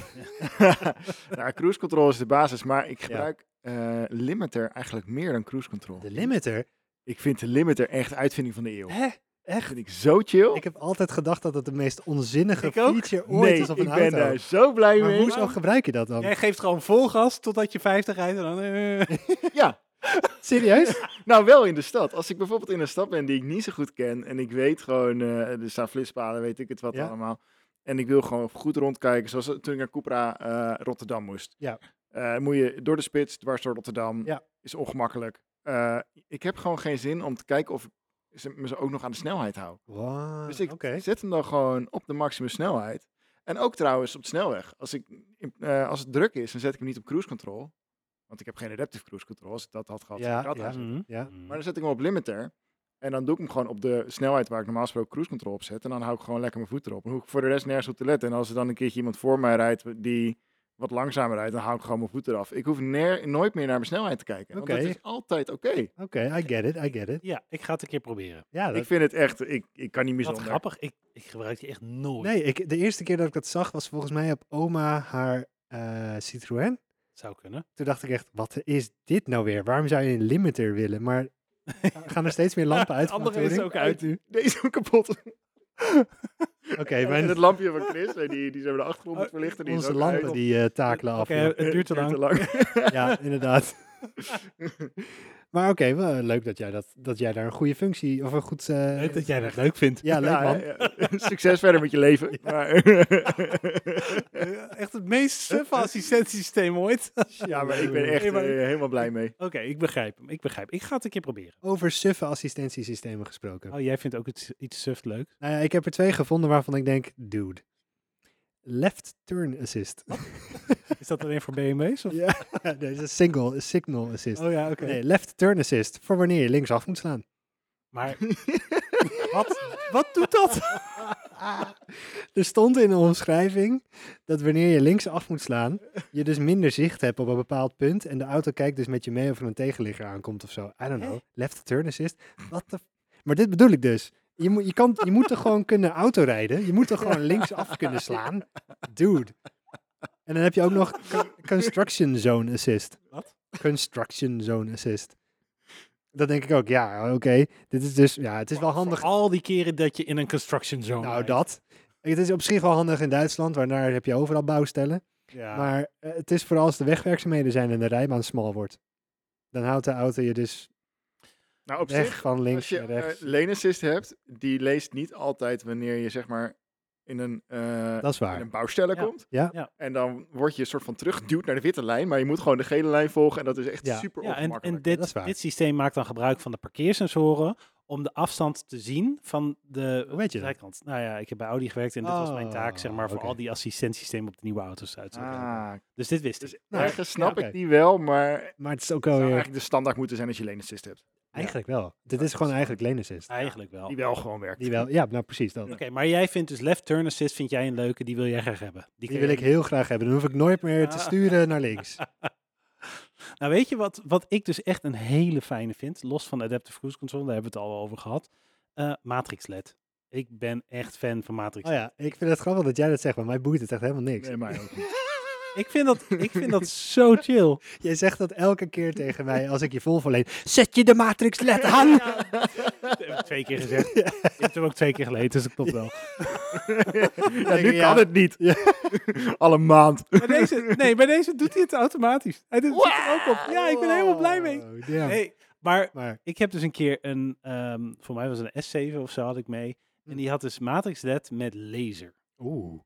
nou, cruise control is de basis, maar ik
Ja.
gebruik eh, limiter eigenlijk meer dan cruise control.
De limiter.
Ik vind de limiter echt uitvinding van de eeuw.
Hè? Echt?
vind ik zo chill.
Ik heb altijd gedacht dat het de meest onzinnige
Ik ook.
feature ooit
nee,
is op
ik
een
ben
auto.
daar zo blij
maar
mee.
hoezo gebruik je dat dan?
Jij geeft gewoon vol gas totdat je 50 rijdt en dan... eh.
Ja,
Serieus?
Nou, wel in de stad. Als ik bijvoorbeeld in een stad ben die ik niet zo goed ken en ik weet gewoon, eh, er staan flitspalen, weet ik het wat
Ja.
allemaal. En ik wil gewoon goed rondkijken, zoals toen ik naar Cupra eh, Rotterdam moest.
Ja.
Eh, moet je door de spits, dwars door Rotterdam,
Ja.
is ongemakkelijk. Eh, ik heb gewoon geen zin om te kijken of ik ze- me ze ook nog aan de snelheid hou.
Wow,
Dus ik
oké.
zet hem dan gewoon op de maximum snelheid. En ook trouwens op de snelweg. Als, ik, in- eh, als het druk is, dan zet ik hem niet op cruise control. Want ik heb geen adaptive cruise control. Als ik dat had gehad,
Ja,
zou ik dat dus.
ja. mm. Mhm.
aanzetten.
Ja.
Maar dan zet ik hem op limiter. En dan doe ik hem gewoon op de snelheid waar ik normaal gesproken cruise control op zet. En dan hou ik gewoon lekker mijn voet erop. Dan hoef ik voor de rest nergens op te letten. En als er dan een keertje iemand voor mij rijdt die wat langzamer rijdt, dan hou ik gewoon mijn voet eraf. Ik hoef neer, nooit meer naar mijn snelheid te kijken.
Oké.
Want dat is altijd oké.
Oké, I get it, I get it.
Ja, ik ga het een keer proberen.
Ja, dat-
Ik vind het echt, ik, ik kan niet meer
Wat
zonder.
grappig, ik, ik gebruik die echt nooit.
nee, ik, de eerste keer dat ik dat zag was volgens mij op oma haar eh, Citroën.
Zou kunnen.
Toen dacht ik echt, wat is dit nou weer? Waarom zou je een limiter willen? Maar er gaan er steeds meer lampen uit. van de
Andere is
Touring.
ook uit nu.
Deze is ook kapot.
Oké,
En
mijn,
het lampje van Chris, eh, die, die zijn de achtergrond moet
Oh,
verlichten. Die is
onze
ook
lampen
uit.
die eh, takelen af.
Oké,
ja.
het duurt te lang.
ja, inderdaad. maar oké, wel leuk dat jij, dat, dat jij daar een goede functie of een goed... eh,
Leuk dat jij dat leuk vindt.
Ja, leuk
Ja,
man.
ja, ja. Succes verder met je leven. Maar,
Eh, Echt het meest suffe assistentiesysteem ooit. Oké,
ja, maar ik ben echt
Nee, maar-
eh, helemaal blij mee.
ik begrijp hem. Ik begrijp. Ik ga het een keer proberen.
Over suffe assistentiesystemen gesproken.
Ah.
Oh, jij vindt ook iets, iets suft leuk.
Nou ja, ik heb er twee gevonden waarvan ik denk, dude. Left turn assist.
Oh.
Is dat alleen voor BMW's? Of?
ja, deze single signal assist.
Oh ja, oké.
Nee, left turn assist. Voor wanneer je linksaf moet slaan.
Maar wat, wat doet dat?
Er stond in de omschrijving dat wanneer je linksaf moet slaan, je dus minder zicht hebt op een bepaald punt. En de auto kijkt dus met je mee of er een tegenligger aankomt of zo. I don't know. Left turn assist. Wat de... f- Maar dit bedoel ik dus. Je moet, je, kan, je moet er gewoon kunnen autorijden. Je moet er gewoon linksaf kunnen slaan. Dude. En dan heb je ook nog con- construction zone assist.
Wat?
Construction zone assist. Dat denk ik ook. Ja, oké. Dit is dus, ja, het is wel handig.
Al die keren dat je in een construction zone
Nou,
rijdt.
dat. Het is op zich wel handig in Duitsland, want daar heb je overal bouwstellen.
Ja.
Maar eh, het is vooral als de wegwerkzaamheden zijn en de rijbaan smal wordt. Dan houdt de auto je dus
Nou, op
weg
zich,
van links
Als je
naar rechts.
eh, lane assist hebt, die leest niet altijd wanneer je zeg maar in een, eh,
dat is
in
waar.
een bouwstelle
Ja.
komt.
Ja.
Ja.
En dan word je een soort van teruggeduwd naar de witte lijn, maar je moet gewoon de gele lijn volgen en dat is echt
Ja.
super
Ja, en, en
ongemakkelijk.
Dat is
dit,
waar.
dit systeem maakt dan gebruik van de parkeersensoren om de afstand te zien van de
Hoe weet je dat? Ah,
zijkant. Nou ja, ik heb bij Audi gewerkt en dit was mijn taak, zeg maar, voor
oké.
al die assistentiesystemen op de nieuwe auto's uit. te werken.
Ah,
Dus dit wist
dus
ik.
Nou,
ergens snap
oké. Oh,
ik die wel, maar het
Maar het is ook
zou
wel weer...
eigenlijk de standaard moeten zijn als je lane assist hebt.
Eigenlijk wel. Dit is gewoon eigenlijk lane assist.
Eigenlijk wel.
Die
Oké,
wel gewoon werkt.
Oh. Die wel, ja, nou precies dat.
maar jij vindt dus left turn assist, vind jij een leuke, die wil jij graag hebben.
Die
kun
wil
je-
ik heel graag hebben. Dan hoef ik nooit meer te sturen naar links.
Nou, weet je wat, wat ik dus echt een hele fijne vind? Los van Adaptive Cruise Control, daar hebben we het al wel over gehad. Eh, Matrix LED. Ik ben echt fan van Matrix
Oh ja, ik vind het grappig dat jij dat zegt, maar mij boeit het echt helemaal niks.
Nee, mij ook niet.
E Ik vind dat, ik vind dat zo chill.
Jij zegt dat elke keer tegen mij als ik je vol verleen. Zet je de matrix led aan!
Dat heb ik twee keer gezegd. Je hebt hem ook twee keer gelezen, dus dat klopt wel.
Ja, nu
Ja.
kan het niet. Alle maand.
Bij deze, nee, bij deze doet hij het automatisch. Hij doet het er ook op. Ja, ik ben helemaal blij mee.
Oh, damn.
Nee, maar
Maar
ik heb dus een keer een, ehm, voor mij was het een S7 of zo had ik mee.
Hm.
En die had dus Matrix LED met laser.
Oeh.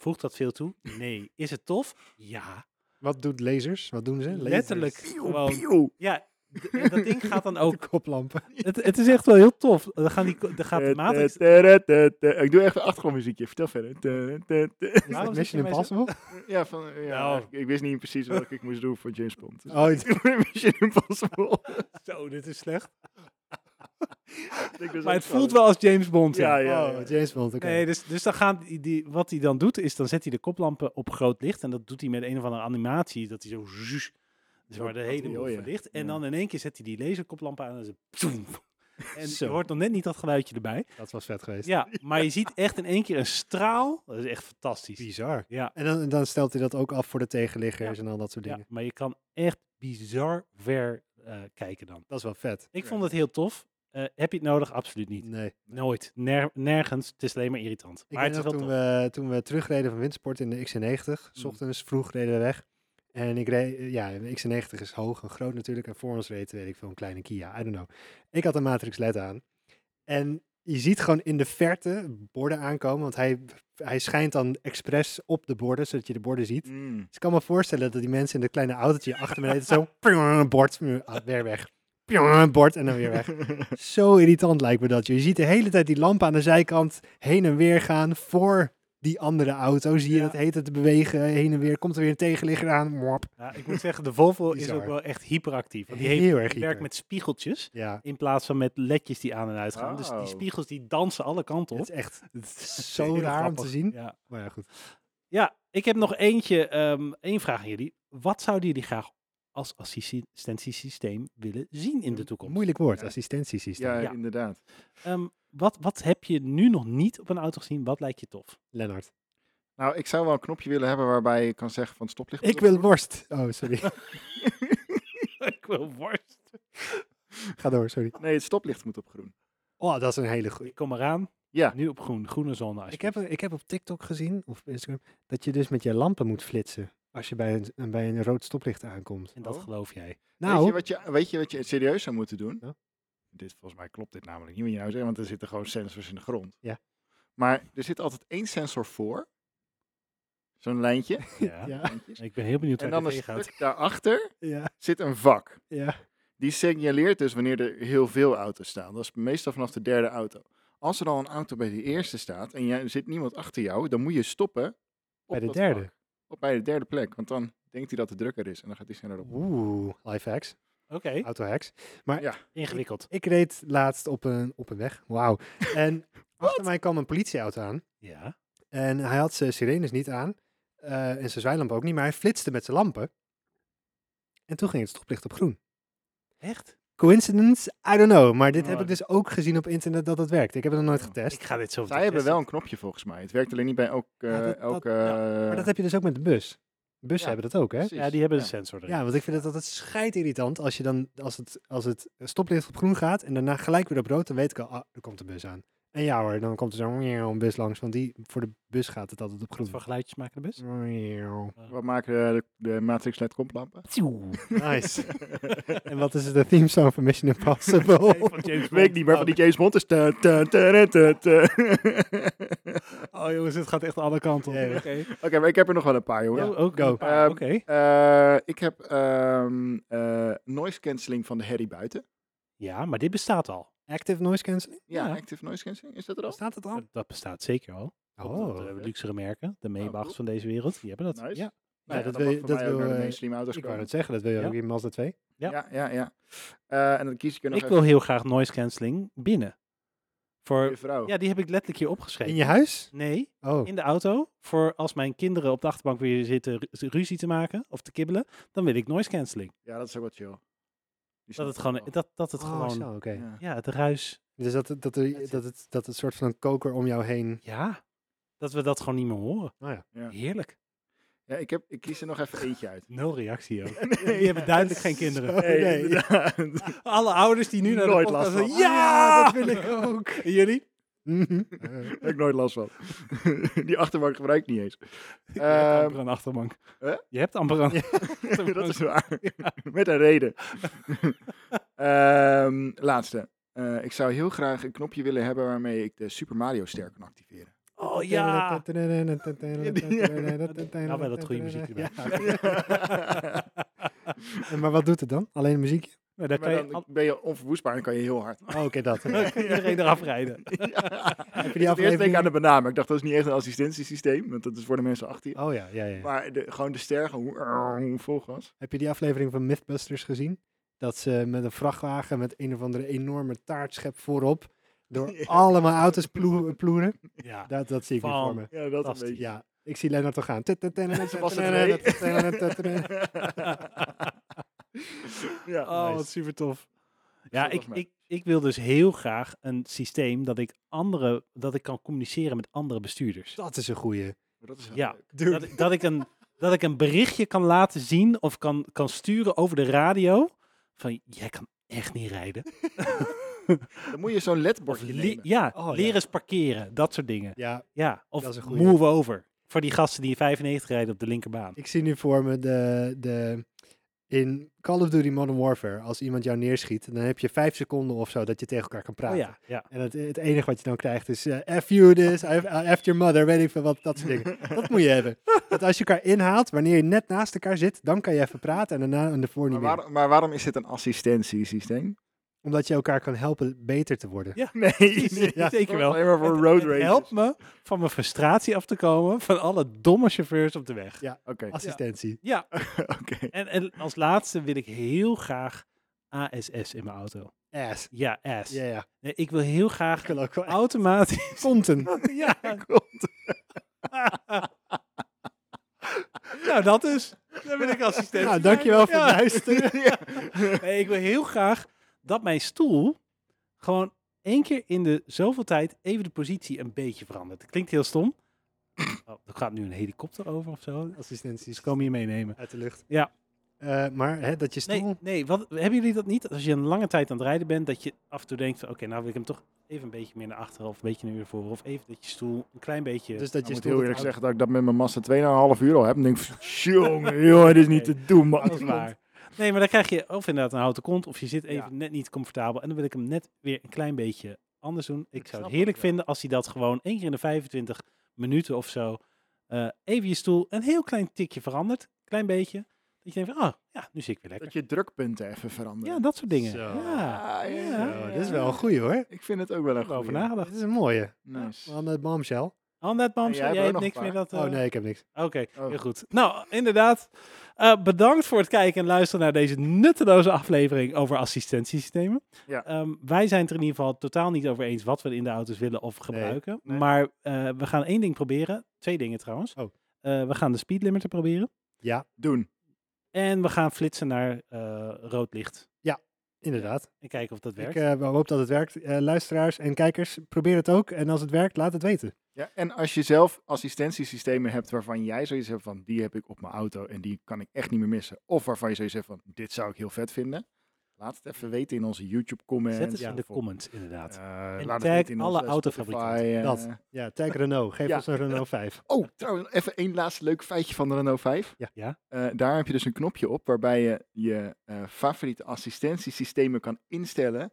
Voegt dat veel toe? Nee. Is het tof? Ja.
Wat doet lasers? Wat doen ze? Lasers.
Letterlijk gewoon.
Pieuw.
Ja, d- en dat ding gaat dan ook.
koplampen.
Het, het is echt wel heel tof. Dan, gaan die, dan gaat de Matrix...
Tetetetetete. Ik doe echt een achtergrondmuziekje. Vertel verder. Tetetete.
Is
Waarom
dat
zit je
Mission
mij zo-
Impossible?
Ja, van, eh, ja,
Nou.
ik- ik wist niet precies wat ik moest doen voor James Bond. Dus
Oh,
ik doe Mission Impossible.
Zo, dit is slecht.
Ik
Maar
was ook
het voelt
zo-
wel als James Bond.
Ja,
Ja,
ja.
oh, James Bond. oké.
Nee, dus, dus dan gaan die, die, wat hij dan doet, is dan zet hij de koplampen op groot licht. En dat doet hij met een of andere animatie. Dat hij zo... zzz, Dus
Zo
waar de
dat
hele
hij,
boel
oh ja.
verlicht. En
Ja.
dan in één keer zet hij die laserkoplampen aan. En, ze, pzoem. en
Zo.
je hoort dan net niet dat geluidje erbij.
Dat was vet geweest.
Ja, maar je ziet echt in één keer een straal. Dat is echt fantastisch.
Bizar.
Ja,
En dan, dan stelt hij dat ook af voor de tegenliggers en al dat soort dingen.
ja, maar je kan echt bizar ver eh, kijken dan.
Dat is wel vet.
Ik vond het heel tof. Eh, Eh, heb je het nodig? Absoluut niet.
Nee.
Nooit. Ner- nergens. Het is alleen maar irritant.
Ik
maar
weet
het is
nog
wel
toen
tof.
we, toen we terugreden van Windsport in de XC90. S
Mm.
ochtends vroeg reden we weg. En ik reed, eh, ja, de XC90 is hoog en groot natuurlijk. En voor ons reed, weet ik veel, een kleine Kia. I don't know. Ik had een Matrix LED aan. En je ziet gewoon in de verte borden aankomen. Want hij, hij schijnt dan expres op de borden, zodat je de borden ziet.
Mm.
Dus ik kan me voorstellen dat die mensen in dat kleine autootje achter me reden. Zo, pjong, bord, ah, weer weg. Pjong, bord en dan weer weg. Zo irritant lijkt me dat. joh. Je ziet de hele tijd die lampen aan de zijkant heen en weer gaan voor die andere auto. Zie je
Ja.
dat heet het te bewegen, heen en weer. Komt er weer een tegenligger aan. Mop.
Ja, ik moet zeggen, de Volvo is
Bizar.
ook wel echt hyperactief. Want die,
Heel
heeft,
erg
die
hyper.
werkt met spiegeltjes
Ja,
in plaats van met ledjes die aan en uit gaan. Dus
Oh.
die spiegels die dansen alle kanten
het
op.
is echt
Heel
zo raar om te
grappig.
zien.
Ja.
Maar ja, goed.
Ja, ik heb nog eentje, ehm één vraag aan jullie. Wat zouden jullie graag als assistentiesysteem willen zien in de toekomst?
Moeilijk woord,
Ja.
assistentiesysteem.
Ja,
Ja.
inderdaad.
Ehm, wat, wat heb je nu nog niet op een auto gezien? Wat lijkt je tof?
Lennart.
Nou, ik zou wel een knopje willen hebben waarbij je kan zeggen van het stoplicht. moet
Ik wil worst. Oh, sorry.
ik wil worst.
Ga door, sorry.
op- Nee, het stoplicht moet op groen.
Oh, dat is een hele goede.
Ik kom eraan.
Ja.
Nu op groen. Groene zone.
Ik heb, ik heb op TikTok gezien, of op Instagram, dat je dus met je lampen moet flitsen. Als je bij een, bij een rood stoplicht aankomt.
En dat
Oh.
geloof jij.
Nou,
Weet, je wat je, weet je wat je serieus zou moeten doen?
Ja.
Dit, volgens mij klopt dit namelijk niet wat je nou zegt, want er zitten gewoon sensors in de grond.
Ja.
Maar er zit altijd één sensor voor. Zo'n lijntje.
Ja.
ja,
lijntjes.
Ik ben heel benieuwd
En
waar
dan een
dit heen gaat.
stuk daarachter
ja,
zit een vak.
ja.
Die signaleert dus wanneer er heel veel auto's staan. Dat is meestal vanaf de derde auto. Als er al een auto bij de eerste staat en jij, er zit niemand achter jou, dan moet je stoppen. op
Bij de
dat
derde?
vak. Op bij de derde plek, want dan denkt hij dat de drukker is en dan gaat hij sneller op.
Oh, Oeh, life hacks,
Oké,
Ah,
auto hacks. Maar
Ja.
ingewikkeld.
ik reed laatst op een, op een weg. Wauw. En achter mij kwam een politieauto aan.
Ja.
En hij had zijn sirenes niet aan. eh, en zijn zijlamp ook niet. Maar hij flitste met zijn lampen. En toen ging het stoplicht op groen.
Echt?
Coincidence? I don't know. Maar dit heb
Oh.
ik dus ook gezien op internet dat dat werkt. Ik heb het nog nooit getest.
Ik ga dit zo
Zij hebben wel een knopje volgens mij. Het werkt alleen niet bij elk. eh,
Ja, dat- dat-
elk eh,
Maar dat heb je dus ook met de bus. Bussen
Ja,
hebben dat ook, hè?
precies.
Ja, die hebben
Ja.
een sensor erin.
Ja, want ik vind het altijd scheidirritant als je dan als het, als het stoplicht op groen gaat en daarna gelijk weer op rood, dan weet ik al, ah, er komt de bus aan. En ja hoor, dan komt er zo'n miauw een bus langs, want die voor de bus gaat het altijd op
Wat
groen.
voor geluidjes maken de bus?
Miauw.
Wat maken eh, de, de Matrix LED koplampen?
Nice. en wat is de theme song van Mission Impossible?
Weet ik niet, maar van die James Bond is. ta- ta- ta- ta- ta.
Oh jongens, dit gaat echt alle kanten op.
Ja, ja.
Oké.
Oké, maar ik heb er nog wel een paar, jongen.
Oh, ook
go.
een paar,
Ehm,
Oké.
Eh, ik heb ehm, eh, noise cancelling van de herrie buiten.
Ja, maar dit bestaat al.
Active noise cancelling?
Ja,
Ja.
active noise cancelling, is dat er al? Nou
Staat het al?
Dat- Dat bestaat zeker al. Oh.
Oh.
De luxere merken, de Maybachs
cool.
van deze wereld, die hebben dat.
Nou, Nice.
Ja.
Nou
dat
dan
wil
mag
je-
voor
dat
mij ook
wil,
naar de
eh,
mainstream auto's
Ik wou
komen.
net zeggen, dat wil je
Ja.
ook in Mazda 2.
ja.
Ja, ja, ja. Eh, en dan kies ik er nog
Ik wil heel graag noise cancelling binnen.
even je
Voor,
vrouw.
ja, die heb ik letterlijk hier opgeschreven.
In je huis?
Nee,
Oh,
in de auto. Voor als mijn kinderen op de achterbank weer zitten ru- ruzie te maken of te kibbelen, dan wil ik noise cancelling.
Ja, dat is ook wat chill. Die
Dat
snap
het
ik
gewoon,
wel.
dat, dat het
Oh,
gewoon,
zo, oké.
Ja.
ja, het ruis,
Dus dat, dat, er, dat, het, dat het soort van een koker om jou heen.
ja, dat we dat gewoon niet meer horen.
Nou ja.
Ja.
Heerlijk.
Ja, ik, heb, ik kies er nog even eentje uit.
Nul reactie ook. Die hebben duidelijk geen kinderen.
Zo. Nee,
inderdaad.
Alle ouders die nu naar
Nooit
de
last
podcast
van.
zeggen,
Oh ja,
ja,
dat wil ik ook.
En jullie?
Mhm. Eh,
Heb ik nooit last van. die achterbank gebruik ik niet eens.
Je hebt
Ehm,
amper een achterbank.
hè?
Je hebt amper een
dat is waar. Met een reden. Ehm, laatste. Eh, ik zou heel graag een knopje willen hebben waarmee ik de Super Mario ster kan activeren.
Oh ja. Nou, wel dat goede muziek erbij.
Ja. Maar wat doet het dan? Alleen muziekje?
Nou, daar kan
Maar
je
dan ben je onverwoestbaar en kan je heel hard.
Oh, Oké, dat.
al- kan iedereen eraf rijden.
Heb je
Ik
die
zat Dus eerst te denken aan
aflevering?
de banaan, maar ik dacht dat is niet echt een assistentiesysteem, want dat is voor de mensen achter je.
Oh ja, ja, ja.
Maar de, gewoon de ster, gewoon vol gas.
Heb je die aflevering van Mythbusters gezien? Dat ze met een vrachtwagen met een of andere enorme taartschep voorop door
Ja.
allemaal auto's ploe- ploeren.
Ja.
Dat, dat zie ik nu voor me.
Ja, dat een
Fantastisch.
beetje.
Ja, ik zie Lennart al gaan. Ze
was het ja,
Oh,
nice.
wat super tof.
Zo
Ja,
was
ik,
mij.
ik, ik wil dus heel graag een systeem dat ik andere, dat ik kan communiceren met andere bestuurders.
Dat is een goeie.
Maar dat is wel
Ja,
leuk.
dat, ik- dat ik een, dat ik een berichtje kan laten zien of kan, kan sturen over de radio. Van, jij kan echt niet rijden.
Dan moet je zo'n
Of
ledbordje
le-
nemen.
ja,
Oh, ja.
leren eens parkeren, dat soort dingen.
Ja,
Ja,
Dat is een
of
goeie.
move over. Voor die gasten die 95 rijden op de linkerbaan.
ik zie nu voor me de, de... In Call of Duty Modern Warfare, als iemand jou neerschiet, dan heb je vijf seconden of zo dat je tegen elkaar kan
Oh
praten.
ja, ja.
En het, het enige wat je dan krijgt is eh F you this, I- I- F your mother, weet ik veel wat, dat soort dingen. Dat moet je hebben. Dat als je elkaar inhaalt, wanneer je net naast elkaar zit, dan kan je even praten en daarna en daarvoor
Maar,
niet meer.
waarom- maar waarom is dit een assistentiesysteem?
Omdat je elkaar kan helpen beter te worden.
Ja.
Nee, nee.
Ja, zeker wel.
Alleen maar voor
Het-
road
het
races.
helpt me van mijn frustratie af te komen van alle domme chauffeurs op de weg.
Ja.
Oké,
Assistentie.
Ja,
oké.
en, en als laatste wil ik heel graag ASS in mijn auto.
Ass.
Ja, ass.
Ja, ja.
Nee, ik wil heel graag
Ik kan ook wel.
automatisch...
Konten.
ja. nou, dat is... Daar ben ik assistent.
Nou, dankjewel voor het
Ja.
luisteren.
Ja.
Nee, ik wil heel graag dat mijn stoel gewoon één keer in de zoveel tijd even de positie een beetje verandert. Klinkt heel stom. Oh, er gaat nu een helikopter over of zo.
Assistentie
Dus kom je meenemen.
uit de lucht.
Ja.
Eh, maar hè, dat je stoel...
Nee, nee wat, hebben jullie dat niet? Als je een lange tijd aan het rijden bent, dat je af en toe denkt: van, oké, nou wil ik hem toch even een beetje meer naar achteren of een beetje naar voren. Of even dat je stoel een klein beetje.
Dus dat
Ik
je
moet
stoel
heel eerlijk
dat auto-
zeggen dat ik dat met mijn Mazda 2,5 uur al heb. En denk ik, jongen, joh, dit is niet te doen, man.
dat is waar. Nee, maar dan krijg je of inderdaad een houten kont, of je zit even net niet comfortabel. En dan wil ik hem net weer een klein beetje anders doen. Ik, zou
snap
het heerlijk
het, ja.
vinden als hij dat gewoon één keer in de 25 minuten of zo. eh, even je stoel een heel klein tikje verandert. Klein beetje. Dat je denkt van, ah, ja, nu zit ik weer lekker.
Dat je drukpunten even veranderen.
Ja, dat soort dingen.
Zo.
Ja,
Ah, ja.
Ja.
Zo, dit is wel een goeie hoor.
Ik vind het ook wel een
heb over
goeie. eh,
nagedacht.
Dit is een mooie.
Nice.
Van het bombshell.
Annette Bamsen,
jij hebt
jij
er
hebt
ook nog
niks meer
een
dat... eh,
Oh nee, ik heb niks.
Oké,
Oh.
heel goed. Nou, inderdaad. eh, bedankt voor het kijken en luisteren naar deze nutteloze aflevering over assistentiesystemen.
Ja.
Ehm, wij zijn het er in ieder geval totaal niet over eens wat we in de auto's willen of gebruiken.
nee.
Maar eh, we gaan één ding proberen. Twee dingen trouwens.
Oh.
Eh, we gaan de speedlimiter proberen.
Doen.
En we gaan flitsen naar eh, rood licht.
Inderdaad.
En kijken of dat werkt.
Ik eh, hoop dat het werkt. Eh, luisteraars en kijkers, probeer het ook. En als het werkt, laat het weten.
Ja, en als je zelf assistentiesystemen hebt waarvan jij zoiets hebt van, die heb ik op mijn auto en die kan ik echt niet meer missen. Of waarvan je zoiets hebt van, dit zou ik heel vet vinden. Laat het even weten in onze YouTube comments.
Zet het
of
in de
op-
comments, inderdaad.
Eh,
En
laat
tag
het weten in
alle
onze
autofabrikanten.
Spotify, eh.
Dat. Ja, tag Renault. Geef
Ja.
ons een Renault 5.
Oh, trouwens, even één laatste leuk feitje van de Renault 5.
Ja.
Ja.
Eh, daar heb je dus een knopje op waarbij je je eh, favoriete assistentiesystemen kan instellen.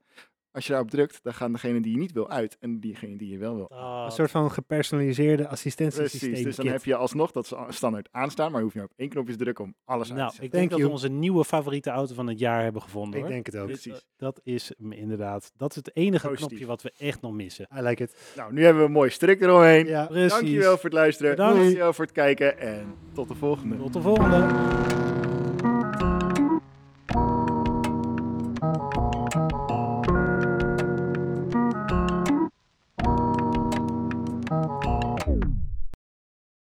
Als je daarop drukt, dan gaan degene die je niet wil uit en diegene die je wel wil.
Ah,
Een soort van gepersonaliseerde
Precies,
assistentiesysteem
dus dan
kit.
heb je alsnog dat ze a- standaard aanstaan, maar je hoeft maar op één knopje te drukken om alles uit
nou,
te
ik
zetten.
denk dat we
you.
onze nieuwe favoriete auto van het jaar hebben gevonden.
Ik
hoor.
denk het ook.
Dus,
Precies.
eh, dat is hem inderdaad. Dat is het enige
Positief.
knopje wat we echt nog missen.
I like it.
Nou, nu hebben we een mooi strik eromheen.
Ja.
Precies.
Dankjewel voor het luisteren,
Bedankt.
dankjewel voor het kijken en tot de volgende.
Tot de volgende.